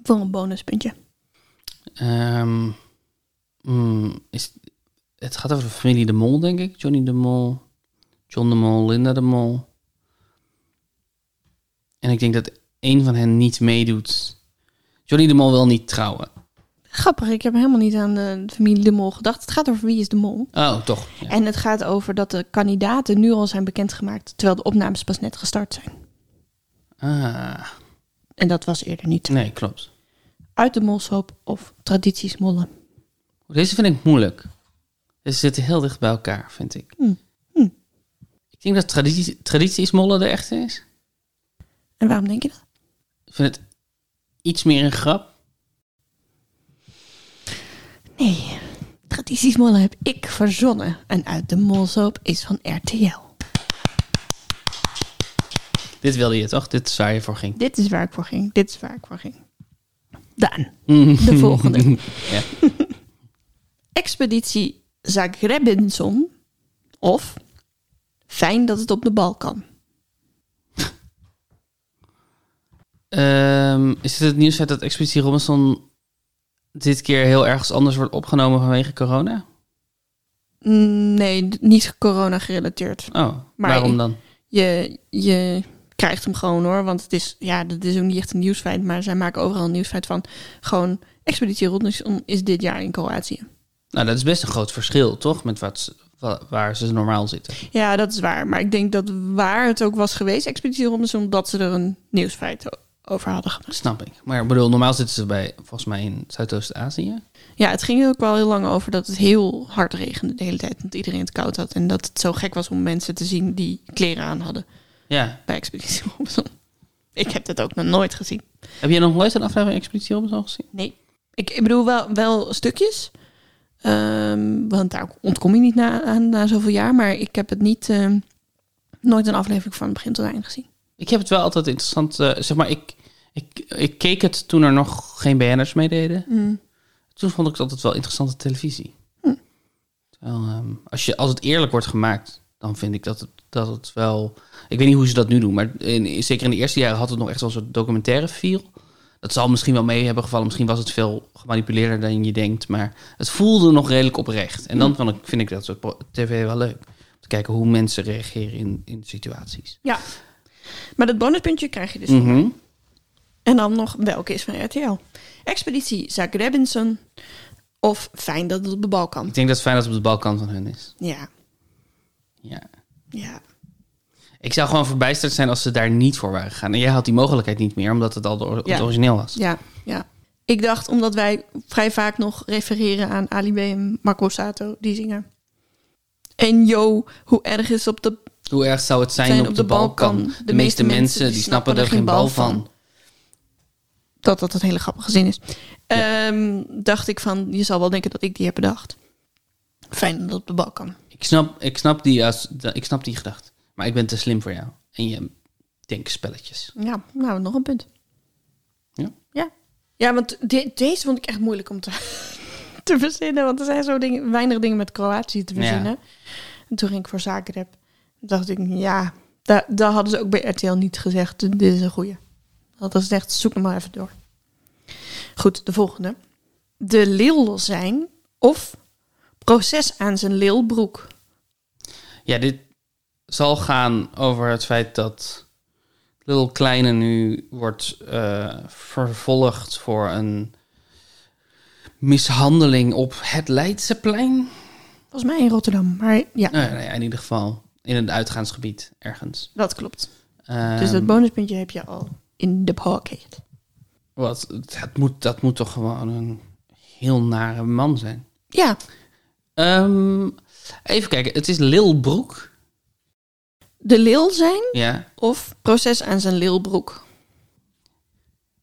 S2: Voor een bonuspuntje.
S1: Ehm, mm, is, het gaat over de familie De Mol, denk ik. Johnny De Mol, John De Mol, Linda De Mol. En ik denk dat één van hen niet meedoet. Johnny De Mol wil niet trouwen.
S2: Grappig, ik heb helemaal niet aan de familie De Mol gedacht. Het gaat over wie is De Mol.
S1: Oh, toch. Ja.
S2: En het gaat over dat de kandidaten nu al zijn bekendgemaakt... terwijl de opnames pas net gestart zijn.
S1: Ah,
S2: En dat was eerder niet. zo.
S1: nee, klopt.
S2: Uit de molshoop of tradities mollen?
S1: Deze vind ik moeilijk. Ze zitten heel dicht bij elkaar, vind ik.
S2: Hm. Hm.
S1: Ik denk dat traditie, traditiesmollen de echte is.
S2: En waarom denk je dat?
S1: Ik vind het iets meer een grap.
S2: Nee, tradities mollen heb ik verzonnen. En uit de molshoop is van RTL.
S1: Dit wilde je toch? Dit is waar je voor ging.
S2: Dit is waar ik voor ging. Dit is waar ik voor ging. Daan,
S1: Mm.
S2: de volgende.
S1: [laughs] Ja.
S2: Expeditie Zagrebinson of Fijn dat het op de bal kan.
S1: Ehm, is het het nieuws uit dat Expeditie Robinson dit keer heel ergens anders wordt opgenomen vanwege corona?
S2: Mm, Nee, d- niet corona gerelateerd.
S1: Oh,
S2: Maar
S1: waarom
S2: ik-
S1: dan?
S2: Je, je krijgt hem gewoon hoor, want het is, ja, dat is ook niet echt een nieuwsfeit, maar zij maken overal een nieuwsfeit van. Gewoon Expeditie Robinson is dit jaar in Kroatië.
S1: Nou, dat is best een groot verschil, toch? Met wat ze- wa- waar ze normaal zitten.
S2: Ja, dat is waar. Maar ik denk dat waar het ook was geweest, Expeditie Robinson, dat ze er een nieuwsfeit o- over hadden gemaakt.
S1: Snap ik. Maar ik bedoel, normaal zitten ze bij, volgens mij in Zuidoost-Azië.
S2: Ja, het ging er ook wel heel lang over dat het heel hard regende de hele tijd. Dat iedereen het koud had. En dat het zo gek was om mensen te zien die kleren aan hadden
S1: Ja.
S2: bij Expeditie Robinson. [laughs] Ik heb dat ook nog nooit gezien.
S1: Heb jij nog nooit een aflevering Expeditie Robinson gezien?
S2: Nee. Ik, ik bedoel wel, wel stukjes. Ehm, want daar ontkom je niet na, aan na zoveel jaar. Maar ik heb het niet, ehm, nooit een aflevering van begin tot eind gezien.
S1: Ik heb het wel altijd interessant, eh, zeg maar, ik, ik ik keek het toen er nog geen BN'ers meededen. Toen vond ik het altijd wel interessante televisie. Terwijl, ehm, als, je, als het eerlijk wordt gemaakt, dan vind ik dat het, dat het wel... Ik weet niet hoe ze dat nu doen, maar in, zeker in de eerste jaren had het nog echt wel een soort documentaire feel. Dat zal misschien wel mee hebben gevallen. Misschien was het veel gemanipuleerder dan je denkt. Maar het voelde nog redelijk oprecht. En dan vond ik- vind ik dat soort pro- tv wel leuk. Om te kijken hoe mensen reageren in, in situaties.
S2: Ja. Maar dat bonuspuntje krijg je dus.
S1: Mhm.
S2: En dan nog welke is van RTL? Expeditie Zagrebinson of Fijn dat het op de Balkan.
S1: Ik denk dat het fijn dat het op de balkan van hun is.
S2: Ja,
S1: Ja.
S2: ja.
S1: Ik zou gewoon verbijsterd zijn als ze daar niet voor waren gegaan. En jij had die mogelijkheid niet meer, omdat het al de or-
S2: Ja.
S1: het origineel was.
S2: Ja, ja. Ik dacht, omdat wij vrij vaak nog refereren aan Ali B en Marco Sato, die zingen. En yo, hoe erg is op de...
S1: Hoe erg zou het zijn, op, de, Balkan? De, meeste mensen die snappen er geen bal van.
S2: Dat dat een hele grappige zin is. Ehm, dacht ik van, je zal wel denken dat ik die heb bedacht. Fijn dat het op de Balkan.
S1: Ik snap, ik, snap die, als, da- ik snap die gedachte. Maar ik ben te slim voor jou. En je denkt spelletjes.
S2: Ja, nou, nog een punt.
S1: Ja.
S2: Ja, ja want de- deze vond ik echt moeilijk om te, [laughs] te verzinnen. Want er zijn zo dingen, weinig dingen met Kroatië te
S1: Ja.
S2: verzinnen. En toen ging ik voor Zagreb. Toen dacht ik, ja, daar daar hadden ze ook bij RTL niet gezegd. Dit is een goeie. Dat is echt, zoek hem maar even door. Goed, de volgende. De leel zijn of proces aan zijn leelbroek.
S1: Ja, dit zal gaan over het feit dat Little Kleine nu wordt eh, vervolgd voor een mishandeling op het Leidseplein.
S2: Volgens mij in Rotterdam, maar ja,
S1: Nou ja, nou ja, in ieder geval in een uitgaansgebied ergens.
S2: dat klopt.
S1: Ehm,
S2: Dus dat bonuspuntje heb je al in de pocket.
S1: wat, dat, moet, dat moet toch gewoon een heel nare man zijn.
S2: Ja,
S1: Ehm, even kijken, het is Lil Broek.
S2: de leel zijn
S1: Ja.
S2: of proces aan zijn leelbroek.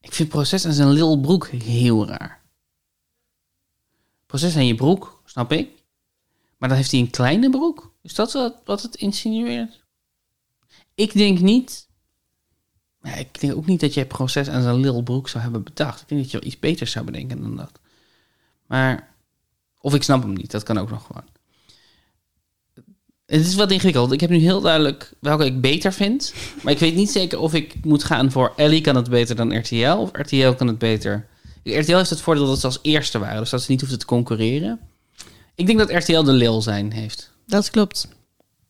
S1: Ik vind proces aan zijn Lil Broek heel raar. Proces aan je broek, snap ik. Maar dan heeft hij een kleine broek. Is dat wat, wat het insinueert? Ik denk niet. Ja, ik denk ook niet dat jij proces aan zijn Lil Broek zou hebben bedacht. Ik denk dat je wel iets beters zou bedenken dan dat. Maar. Of ik snap hem niet, dat kan ook nog gewoon. Het is wat ingewikkeld. Ik heb nu heel duidelijk welke ik beter vind. Maar ik weet niet zeker of ik moet gaan voor Ellie kan het beter dan RTL. Of RTL kan het beter. RTL heeft het voordeel dat ze als eerste waren. Dus dat ze niet hoefden te concurreren. Ik denk dat RTL de leel zijn heeft.
S2: Dat klopt.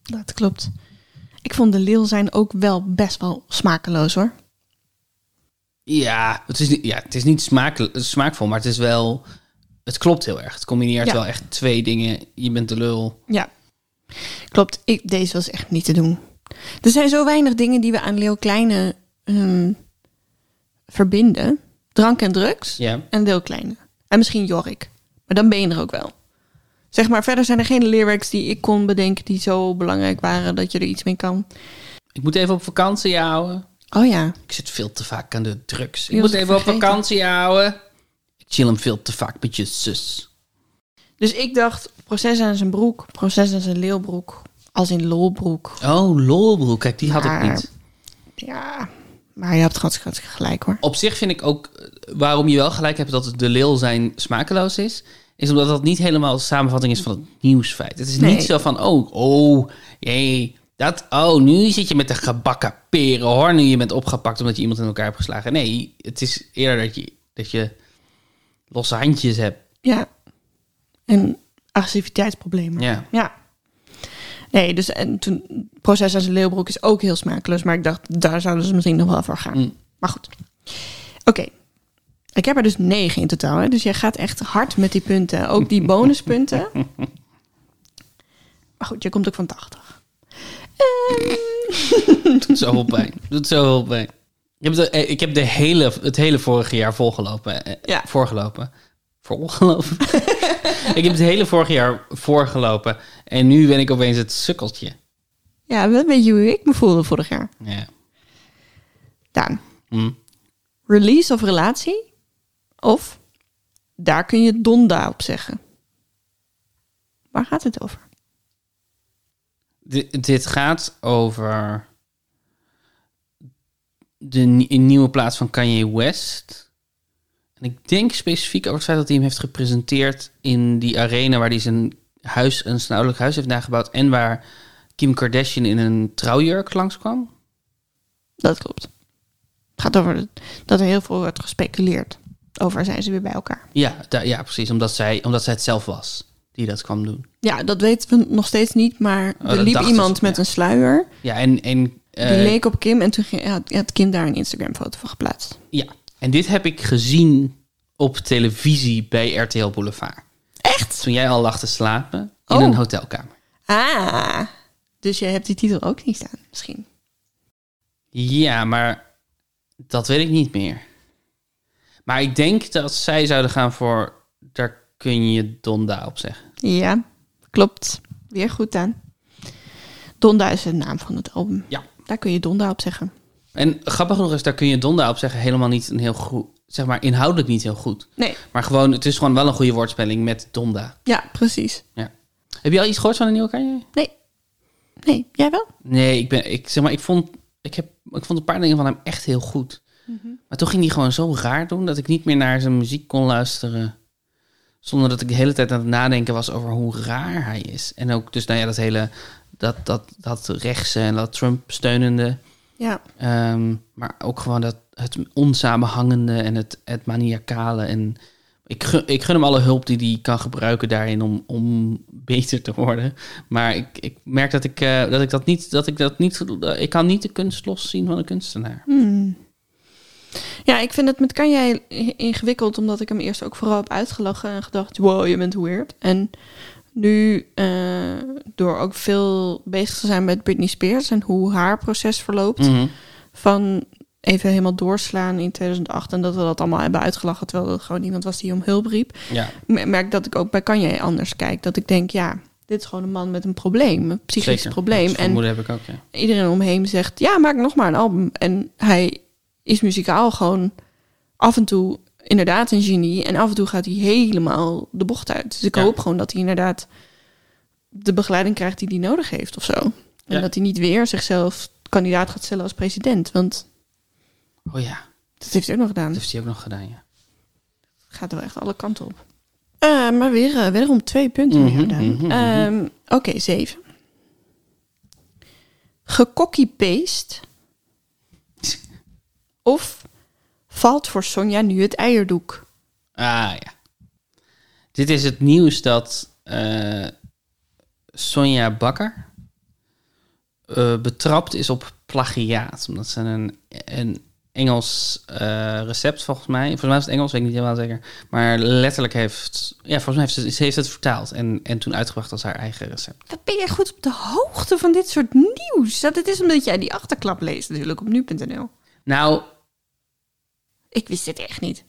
S2: Dat klopt. Ik vond de leel zijn ook wel best wel smakeloos hoor.
S1: Ja, het is niet, ja, het is niet smaak, smaakvol, maar het is wel... Het klopt heel erg. Het combineert
S2: Ja.
S1: wel echt twee dingen. Je bent de lul.
S2: Ja. Klopt. Ik, deze was echt niet te doen. Er zijn zo weinig dingen die we aan Leeuw Kleine ehm, verbinden. Drank en drugs
S1: Ja.
S2: en Leeuw Kleine. En misschien Jorik. Maar dan ben je er ook wel. Zeg maar, verder zijn er geen lyrics die ik kon bedenken die zo belangrijk waren dat je er iets mee kan.
S1: Ik moet even op vakantie houden.
S2: Oh ja.
S1: Ik zit veel te vaak aan de drugs. Ik
S2: Je was
S1: moet
S2: het
S1: even op
S2: vergeten.
S1: vakantie houden. Ik chill hem veel te vaak met je zus.
S2: Dus ik dacht, proces aan zijn broek, proces aan zijn leeuwbroek, als in lolbroek.
S1: Oh, lolbroek. Kijk, die had ik
S2: Maar-
S1: niet.
S2: Ja, maar je hebt hartstikke hartstikke gelijk hoor.
S1: Op zich vind ik ook eh, waarom je wel gelijk hebt dat het de leel zijn smakeloos is. Is omdat dat niet helemaal de samenvatting is van het nieuwsfeit. Het is
S2: Nee.
S1: niet zo van, oh, oh, jee, dat, oh, nu zit je met de gebakken peren hoor. Nu je bent opgepakt omdat je iemand in elkaar hebt geslagen. Nee, het is eerder dat je, dat je losse handjes hebt.
S2: Ja, en agressiviteitsproblemen.
S1: Ja.
S2: Nee, dus en toen, proces aan zijn leeuwbroek is ook heel smakeloos, maar ik dacht, daar zouden ze misschien nog wel voor gaan.
S1: Mm.
S2: Maar goed. Oké. Ik heb er dus negen in totaal, hè? dus jij gaat echt hard met die punten.
S1: [laughs]
S2: Ook die bonuspunten. Maar goed, je komt ook van 80.
S1: Het doet zoveel pijn. Het doet zoveel pijn. Ik heb, de, eh, ik heb de hele, het hele vorige jaar volgelopen. eh,
S2: Ja.
S1: Voorgelopen. Voorgelopen. [laughs] ik heb het hele vorige jaar voorgelopen. En nu ben ik opeens het sukkeltje.
S2: Ja, wel een beetje hoe ik me voelde vorig jaar.
S1: Ja.
S2: Daan.
S1: Hm.
S2: Release of relatie? Of daar kun je donda op zeggen. Waar gaat het over?
S1: Di- dit gaat over de ni- een nieuwe plaats van Kanye West. En ik denk specifiek over het feit dat hij hem heeft gepresenteerd in die arena waar hij zijn huis, een zijn ouderlijk huis heeft nagebouwd. En waar Kim Kardashian in een trouwjurk langskwam.
S2: Dat klopt. Het gaat over het- dat er heel veel wordt gespeculeerd over zijn ze weer bij elkaar.
S1: Ja, da- ja precies. Omdat zij, omdat zij het zelf was die dat kwam doen.
S2: Ja, dat weten we nog steeds niet, maar
S1: Oh,
S2: er
S1: dat
S2: liep
S1: dachten
S2: iemand
S1: ze,
S2: met
S1: ja.
S2: een sluier.
S1: Ja, en, en, eh,
S2: Die leek op Kim en toen ging, had, had Kim daar een Instagram-foto van geplaatst.
S1: ja. en dit heb ik gezien op televisie bij RTL Boulevard.
S2: Echt?
S1: Toen jij al lag te slapen in
S2: Oh.
S1: een hotelkamer.
S2: Ah, dus jij hebt die titel ook niet staan, misschien.
S1: Ja, maar dat weet ik niet meer. Maar ik denk dat zij zouden gaan voor. Daar kun je Donda op zeggen.
S2: Ja, klopt. Weer goed aan. Donda is de naam van het album.
S1: Ja.
S2: Daar kun je Donda op zeggen.
S1: En grappig genoeg is, daar kun je Donda op zeggen helemaal niet een heel goed. Zeg maar inhoudelijk niet heel goed.
S2: Nee,
S1: Maar gewoon, het is gewoon wel een goede woordspelling met Donda.
S2: ja, precies.
S1: Ja. Heb je al iets gehoord van een nieuwe Kanye?
S2: Nee, nee, jij wel?
S1: Nee, ik ben. Ik zeg maar, ik vond. Ik, heb, ik vond een paar dingen van hem echt heel goed. Maar toen ging hij gewoon zo raar doen dat ik niet meer naar zijn muziek kon luisteren. Zonder dat ik de hele tijd aan het nadenken was over hoe raar hij is. En ook dus, nou ja, dat hele. Dat, dat, dat rechtse en dat Trump-steunende.
S2: Ja,
S1: ehm, maar ook gewoon dat, het onsamenhangende en het, het maniacale. En ik gun, ik gun hem alle hulp die hij kan gebruiken daarin om, om beter te worden. Maar ik, ik merk dat ik, eh, dat ik dat niet. Dat ik, dat niet eh, ik kan niet de kunst loszien van een kunstenaar.
S2: Ja, ik vind het met Kanye ingewikkeld, omdat ik hem eerst ook vooral heb uitgelachen en gedacht, wow, je bent weird. En nu, eh, door ook veel bezig te zijn met Britney Spears en hoe haar proces verloopt,
S1: Mhm.
S2: van even helemaal doorslaan in 2008 en dat we dat allemaal hebben uitgelachen, terwijl er gewoon iemand was die om hulp riep,
S1: Ja.
S2: me- merk dat ik ook bij Kanye anders kijk. Dat ik denk, ja, dit is gewoon een man met een probleem, een psychisch
S1: Zeker.
S2: probleem.
S1: Dat
S2: En
S1: vermoeden heb ik ook, ja.
S2: iedereen omheen zegt: Ja, maak nog maar een album. En hij is muzikaal gewoon af en toe inderdaad een genie. En af en toe gaat hij helemaal de bocht uit. Dus ik
S1: Ja.
S2: hoop gewoon dat hij inderdaad de begeleiding krijgt die hij nodig heeft of zo. En
S1: Ja.
S2: dat hij niet weer zichzelf kandidaat gaat stellen als president. Want
S1: Oh ja,
S2: dat heeft hij ook nog gedaan.
S1: dat
S2: Het
S1: heeft hij ook nog gedaan, ja.
S2: gaat wel echt alle kanten op. Eh, maar weer, eh, wederom twee punten.
S1: Mhm,
S2: meer gedaan.
S1: mhm, mhm.
S2: Ehm, Oké, zeven. Gekokkie-paste. Of valt voor Sonja nu het eierdoek?
S1: Ah ja. Dit is het nieuws dat eh, Sonja Bakker eh, betrapt is op plagiaat. Omdat ze een, een Engels eh, recept, volgens mij. Volgens mij was het Engels, weet ik niet helemaal zeker. Maar letterlijk heeft. Ja, volgens mij heeft ze, ze heeft het vertaald en, en toen uitgebracht als haar eigen recept.
S2: Wat ben jij goed op de hoogte van dit soort nieuws? Dat het is omdat jij die achterklap leest natuurlijk op nu.nl.
S1: Nou,
S2: Ik wist dit echt niet.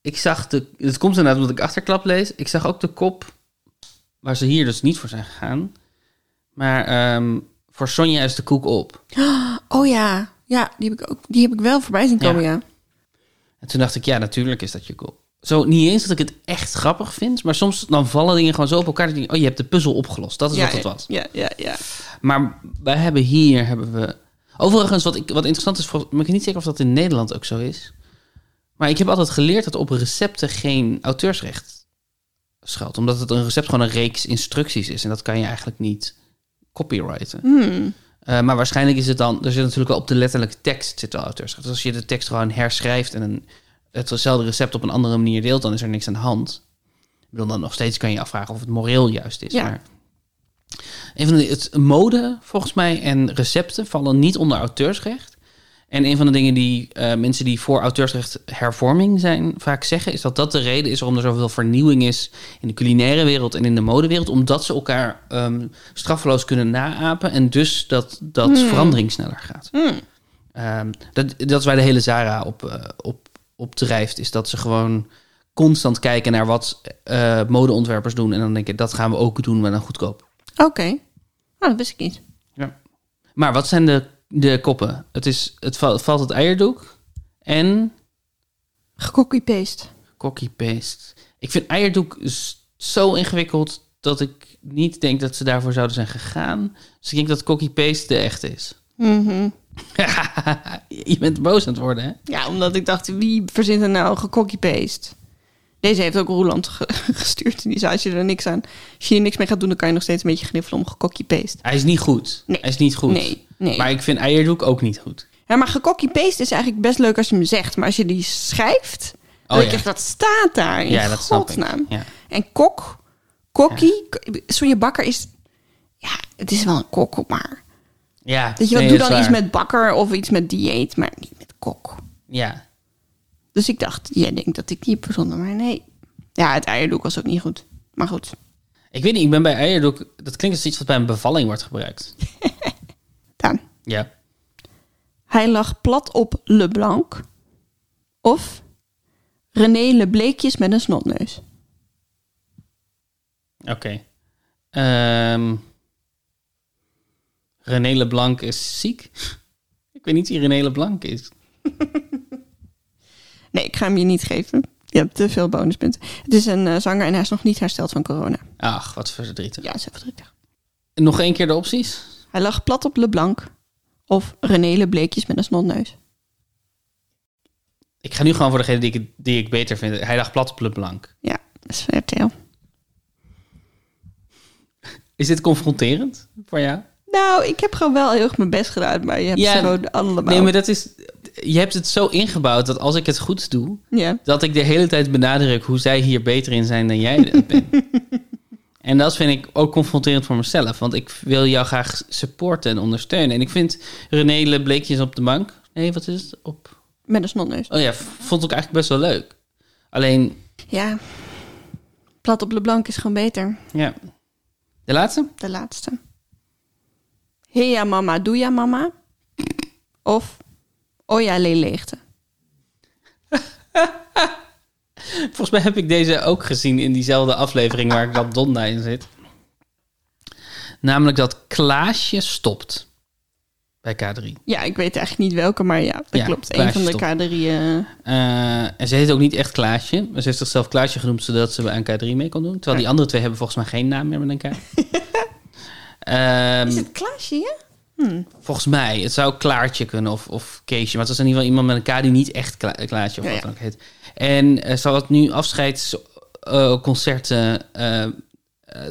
S1: ik zag de. Het komt inderdaad omdat ik achterklap lees. Ik zag ook de kop. Waar ze hier dus niet voor zijn gegaan. Maar ehm, voor Sonja is de koek op.
S2: Oh ja, ja die, heb ik ook, die heb ik wel voorbij zien komen, ja.
S1: Ja. En toen dacht ik, ja, natuurlijk is dat je koek. Zo, niet eens dat ik het echt grappig vind. Maar soms dan vallen dingen gewoon zo op elkaar. Dat je, denkt, oh, je hebt de puzzel opgelost. Dat is
S2: ja, eh,
S1: wat het was.
S2: Ja, ja, ja.
S1: Maar wij hebben hier, hebben we... Overigens, wat, ik, wat interessant is, volgens- maar ik weet niet zeker of dat in Nederland ook zo is. Maar ik heb altijd geleerd dat op recepten geen auteursrecht schuilt. Omdat het een recept gewoon een reeks instructies is. En dat kan je eigenlijk niet copyrighten. Eh, maar waarschijnlijk is het dan... Er zit natuurlijk wel op de letterlijke tekst zit wel auteursrecht. Dus als je de tekst gewoon herschrijft en een, hetzelfde recept op een andere manier deelt... dan is er niks aan de hand. Ik bedoel, dan nog steeds kan je je afvragen of het moreel juist is.
S2: Ja.
S1: Maar een van de, het mode, volgens mij, en recepten vallen niet onder auteursrecht. En een van de dingen die eh, mensen die voor auteursrecht hervorming zijn vaak zeggen, is dat dat de reden is waarom er zoveel vernieuwing is in de culinaire wereld en in de modewereld, omdat ze elkaar ehm, straffeloos kunnen naapen en dus dat, dat verandering sneller gaat. Ehm, dat, dat is waar de hele Zara op, eh, op, op drijft, is dat ze gewoon constant kijken naar wat eh, modeontwerpers doen en dan denken dat gaan we ook doen, maar dan goedkoop.
S2: Oké, nou, dat wist ik niet.
S1: Ja. Maar wat zijn de, de koppen? Het, is, het val- valt het eierdoek en
S2: Gekokkie-paste.
S1: copy-paste. Ik vind eierdoek s- zo ingewikkeld dat ik niet denk dat ze daarvoor zouden zijn gegaan. Dus ik denk dat copy-paste de echte is.
S2: Mhm.
S1: [laughs] je bent boos aan het worden, hè?
S2: Ja, omdat ik dacht, wie verzint er nou gecopy-paste? Deze heeft ook Roland ge- [laughs] gestuurd. En die zei, als je er niks aan... Als je hier niks mee gaat doen, dan kan je nog steeds een beetje gniffelen om gecopy-paste.
S1: Hij is niet goed.
S2: Nee.
S1: Hij is niet goed.
S2: Nee, nee.
S1: Maar ik vind eierdoek ook niet goed.
S2: Ja, maar gecopy-paste is eigenlijk best leuk als je hem zegt. Maar als je die schrijft,
S1: Oh,
S2: dan denk
S1: ja.
S2: je echt, wat staat daar in
S1: ja, dat snap ik.
S2: godsnaam?
S1: Ja.
S2: En kok, kokkie, k- Sonja Bakker is... Ja, het is wel een kok, maar...
S1: ja.
S2: Weet je wat,
S1: nee,
S2: doe
S1: dat
S2: dan
S1: is
S2: iets
S1: waar.
S2: met bakker of iets met dieet, maar niet met kok.
S1: Ja.
S2: Dus ik dacht, jij denkt dat ik die heb verzonnen, maar nee. Ja, het eierdoek was ook niet goed. Maar goed.
S1: Ik weet niet, ik ben bij eierdoek... Dat klinkt als iets wat bij een bevalling wordt gebruikt.
S2: Daan.
S1: Ja.
S2: Hij lag plat op Leblanc. Of René Lebleekjes met een snotneus.
S1: Oké. Ehm, René Leblanc is ziek. [laughs] Ik weet niet wie René Leblanc is.
S2: Nee, ik ga hem je niet geven. Je hebt te veel bonuspunten. Het is een eh, zanger en hij is nog niet hersteld van corona.
S1: Ach, wat verdrietig.
S2: Ja, zo verdrietig.
S1: Nog één keer de opties?
S2: Hij lag plat op Leblanc. Of René Lebleekjes met een snotneus.
S1: Ik ga nu gewoon voor degene die ik, die ik beter vind. Hij lag plat op Leblanc.
S2: Ja, dat is RTL.
S1: Is dit confronterend voor jou?
S2: Nou, ik heb gewoon wel heel erg mijn best gedaan, maar je hebt
S1: Ja,
S2: ze gewoon allemaal.
S1: Nee, maar dat is... Je hebt het zo ingebouwd dat als ik het goed doe...
S2: Ja,
S1: dat ik de hele tijd benadruk hoe zij hier beter in zijn dan jij dat bent. en dat vind ik ook confronterend voor mezelf, want ik wil jou graag supporten en ondersteunen. En ik vind René Lebleekjes op de bank. Nee, wat is het? Op.
S2: met een snotneus.
S1: Oh ja, v- vond ik eigenlijk best wel leuk. Alleen,
S2: Ja, plat op Leblanc is gewoon beter.
S1: ja. De laatste?
S2: De laatste. Hea ja mama, doe ja mama. Of oh ja leeleegte.
S1: Volgens mij heb ik deze ook gezien in diezelfde aflevering waar ik dat Donna in zit. Namelijk dat Klaasje stopt bij K3.
S2: Ja, ik weet eigenlijk niet welke, maar ja, dat
S1: Ja,
S2: klopt. Een
S1: Klaasje
S2: van de
S1: stopt.
S2: K3. eh,
S1: Eh, en ze heet ook niet echt Klaasje. Maar ze heeft zichzelf Klaasje genoemd zodat ze aan K3 mee kon doen. Terwijl die andere twee hebben volgens mij geen naam meer met een K.
S2: [laughs]
S1: Ehm,
S2: Is het Klaasje, ja?
S1: Volgens mij. Het zou Klaartje kunnen of, of Keesje. Maar het was in ieder geval iemand met een K die niet echt Kla- Klaasje of
S2: Ja,
S1: wat
S2: ja.
S1: dan ook heet. En eh, ze had nu eh, afscheidsconcerten. eh,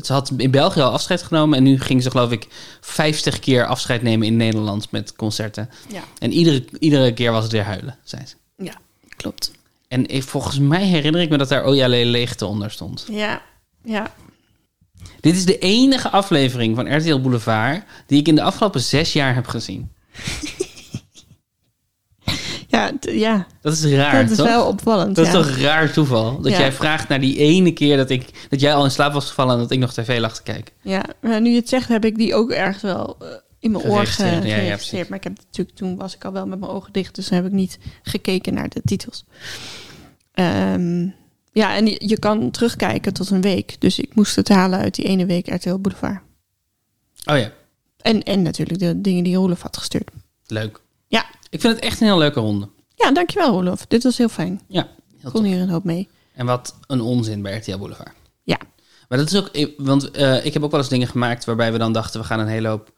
S1: ze had in België al afscheid genomen. En nu ging ze geloof ik 50 keer afscheid nemen in Nederland met concerten.
S2: Ja.
S1: En iedere, iedere keer was het weer huilen, zei ze.
S2: Ja, klopt.
S1: En ik, volgens mij herinner ik me dat daar Oja E Leegte onder stond.
S2: Ja, ja.
S1: Dit is de enige aflevering van RTL Boulevard die ik in de afgelopen zes jaar heb gezien.
S2: Ja, t- ja.
S1: Dat is raar,
S2: dat is
S1: toch?
S2: wel opvallend.
S1: dat
S2: ja.
S1: is toch raar toeval? Dat
S2: Ja.
S1: jij vraagt naar die ene keer dat, ik, dat jij al in slaap was gevallen en dat ik nog tv lag te kijken.
S2: Ja, maar nu je het zegt, heb ik die ook ergens wel eh, in mijn oor ge-
S1: Geregistreerd, ja, ja,
S2: geregistreerd.
S1: precies.
S2: maar ik heb natuurlijk toen was ik al wel met mijn ogen dicht, dus heb ik niet gekeken naar de titels. Ehm, ja, en je, je kan terugkijken tot een week. Dus ik moest het halen uit die ene week RTL Boulevard.
S1: Oh ja,
S2: En, en natuurlijk de dingen die Rolof had gestuurd.
S1: leuk.
S2: Ja,
S1: Ik vind het echt een heel leuke ronde.
S2: ja dankjewel Rolof. Dit was heel fijn.
S1: Ja, heel
S2: Ik kon
S1: tof.
S2: hier een hoop mee.
S1: En wat een onzin bij RTL Boulevard.
S2: Ja,
S1: Maar dat is ook, ik- want eh, ik heb ook wel eens dingen gemaakt waarbij we dan dachten, we gaan een hele hoop.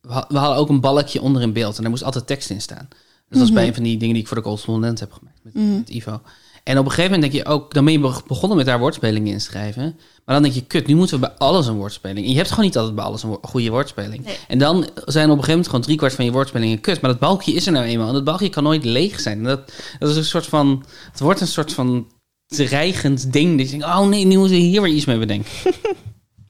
S1: We ha- we hadden ook een balkje onder in beeld en daar moest altijd tekst in staan. Dus dat is bij een van die dingen die ik voor de correspondent heb gemaakt met, met Ivo. En op een gegeven moment denk je ook, dan ben je be- begonnen met daar woordspelingen in te schrijven. Maar dan denk je, kut, nu moeten we bij alles een woordspeling. En je hebt gewoon niet altijd bij alles een wo- goede woordspeling. En dan zijn op een gegeven moment gewoon driekwart van je woordspelingen kut. Maar dat balkje is er nou eenmaal. En dat balkje kan nooit leeg zijn. En dat, dat is een soort van, het wordt een soort van dreigend ding. Dat je denkt, oh nee, nu moeten we hier weer iets mee bedenken.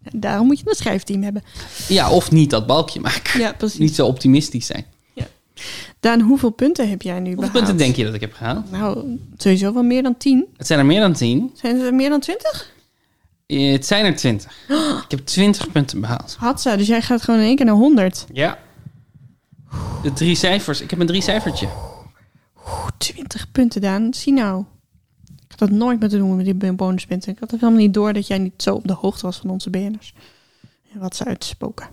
S2: en daarom moet je een
S1: [laughs]
S2: schrijfteam hebben.
S1: Ja, of niet dat balkje maken.
S2: Ja, precies.
S1: Niet zo optimistisch zijn.
S2: Daan, hoeveel punten heb jij nu
S1: Hoeveel
S2: behaald?
S1: punten denk je dat ik heb gehaald?
S2: Nou, sowieso wel meer dan tien.
S1: Het zijn er meer dan tien.
S2: Zijn er meer dan twintig?
S1: Eh, Het zijn er
S2: [gasps]
S1: twintig. Ik heb twintig punten behaald.
S2: Hatsa, dus jij gaat gewoon in één keer naar 100.
S1: Ja. De drie cijfers. Ik heb een drie cijfertje.
S2: Oeh, 20 punten, Daan. Zie nou. Ik had dat nooit moeten doen met die bonuspunten. Ik had het helemaal niet door dat jij niet zo op de hoogte was van onze BN'ers. En wat ze uitspoken.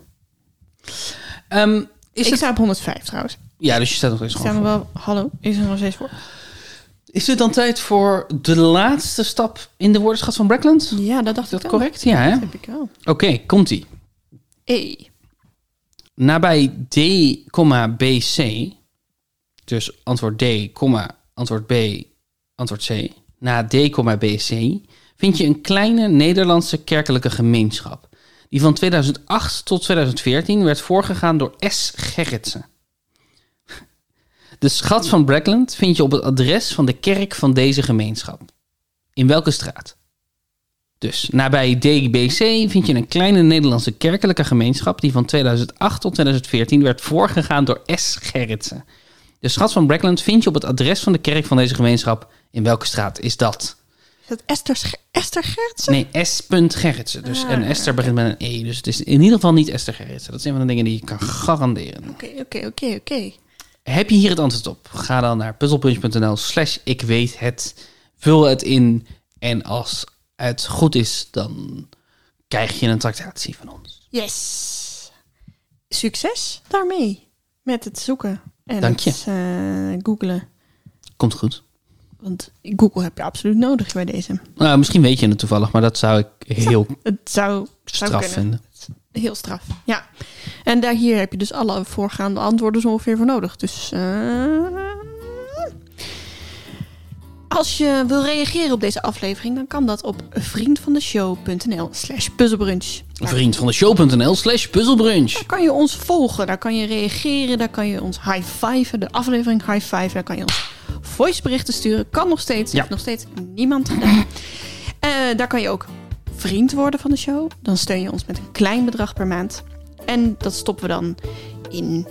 S1: Ehm,
S2: Is
S1: is
S2: ik
S1: het...
S2: sta op 105 trouwens.
S1: Ja, dus je staat nog steeds
S2: Ik sta
S1: gewoon
S2: nog
S1: voor.
S2: wel... Hallo, is er nog steeds voor?
S1: Is het dan tijd voor de laatste stap in de woordenschat van Brackland? Is
S2: Ja, dat dacht
S1: dat
S2: ik wel.
S1: correct? Ja, hè?
S2: Dat heb ik wel.
S1: Oké, komt-ie.
S2: E.
S1: Nabij D, comma, BC. Dus antwoord D, comma, antwoord B, antwoord C. Na D, comma, BC vind je een kleine Nederlandse kerkelijke gemeenschap. Die van 2008 tot 2014 werd voorgegaan door S. Gerritsen. De schat van Brackland vind je op het adres van de kerk van deze gemeenschap. In welke straat? Dus nabij DBC vind je een kleine Nederlandse kerkelijke gemeenschap die van 2008 tot 2014 werd voorgegaan door S. Gerritsen. De schat van Brackland vind je op het adres van de kerk van deze gemeenschap. In welke straat is dat?
S2: Is dat Esther, Sch- Esther Gertsen?
S1: Nee, S. Gerritsen. Dus, en Esther begint met een E. Dus het is in ieder geval niet Esther Gerritsen. Dat is een van de dingen die je kan garanderen.
S2: Oké, oké, oké, oké.
S1: Heb je hier het antwoord op? Ga dan naar puzzelpunch.nl slash ik weet het. Vul het in. En als het goed is, dan krijg je een tractatie van ons.
S2: Yes. Succes daarmee. Met het zoeken. En
S1: Dank je.
S2: het eh, googlen.
S1: Komt goed.
S2: Want Google heb je absoluut nodig bij deze.
S1: Nou, misschien weet je het toevallig, maar dat zou ik heel
S2: Het zou, zou
S1: straf
S2: kunnen.
S1: vinden.
S2: Heel straf, ja. En daar hier heb je dus alle voorgaande antwoorden zo ongeveer voor nodig. Dus eh, als je wil reageren op deze aflevering, dan kan dat op vriendvandeshow.nl slash puzzelbrunch.
S1: Vriend van de show.nl slash puzzelbrunch.
S2: Daar kan je ons volgen, daar kan je reageren, daar kan je ons high-fiven, de aflevering high-fiven, daar kan je ons voiceberichten sturen. Kan nog steeds,
S1: Ja.
S2: heeft nog steeds niemand gedaan. Eh, daar kan je ook vriend worden van de show. Dan steun je ons met een klein bedrag per maand. En dat stoppen we dan in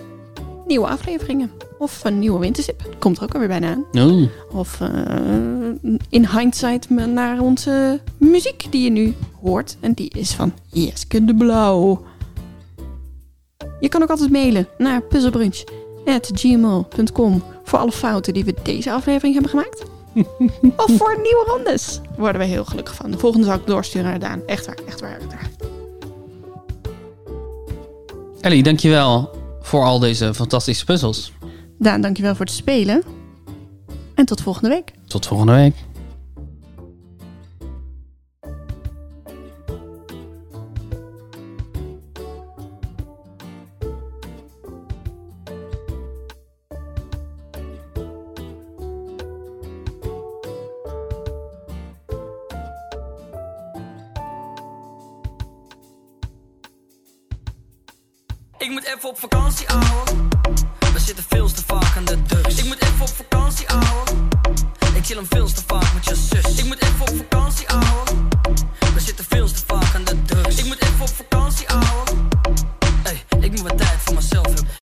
S2: nieuwe afleveringen. Of een nieuwe wintersip. Komt er ook alweer bijna aan.
S1: Oh,
S2: Of eh, in hindsight me- naar onze muziek die je nu hoort. En die is van Jeske de Blauw. Je kan ook altijd mailen naar puzzelbrunch.gmail.com voor alle fouten die we deze aflevering hebben gemaakt. of voor nieuwe rondes. Daar worden we heel gelukkig van. De volgende zal ik doorsturen naar Daan. Echt waar, echt waar, echt waar.
S1: Ellie, dankjewel voor al deze fantastische puzzels.
S2: Daan, dankjewel voor het spelen. En tot volgende week.
S1: Tot volgende week.
S4: Ik moet even op vakantie, ouwe. We zitten veel te vaak aan de drugs. Ik moet even op vakantie, ouwe. Ik chill hem veel te vaak met je zus. Ik moet even op vakantie, ouwe.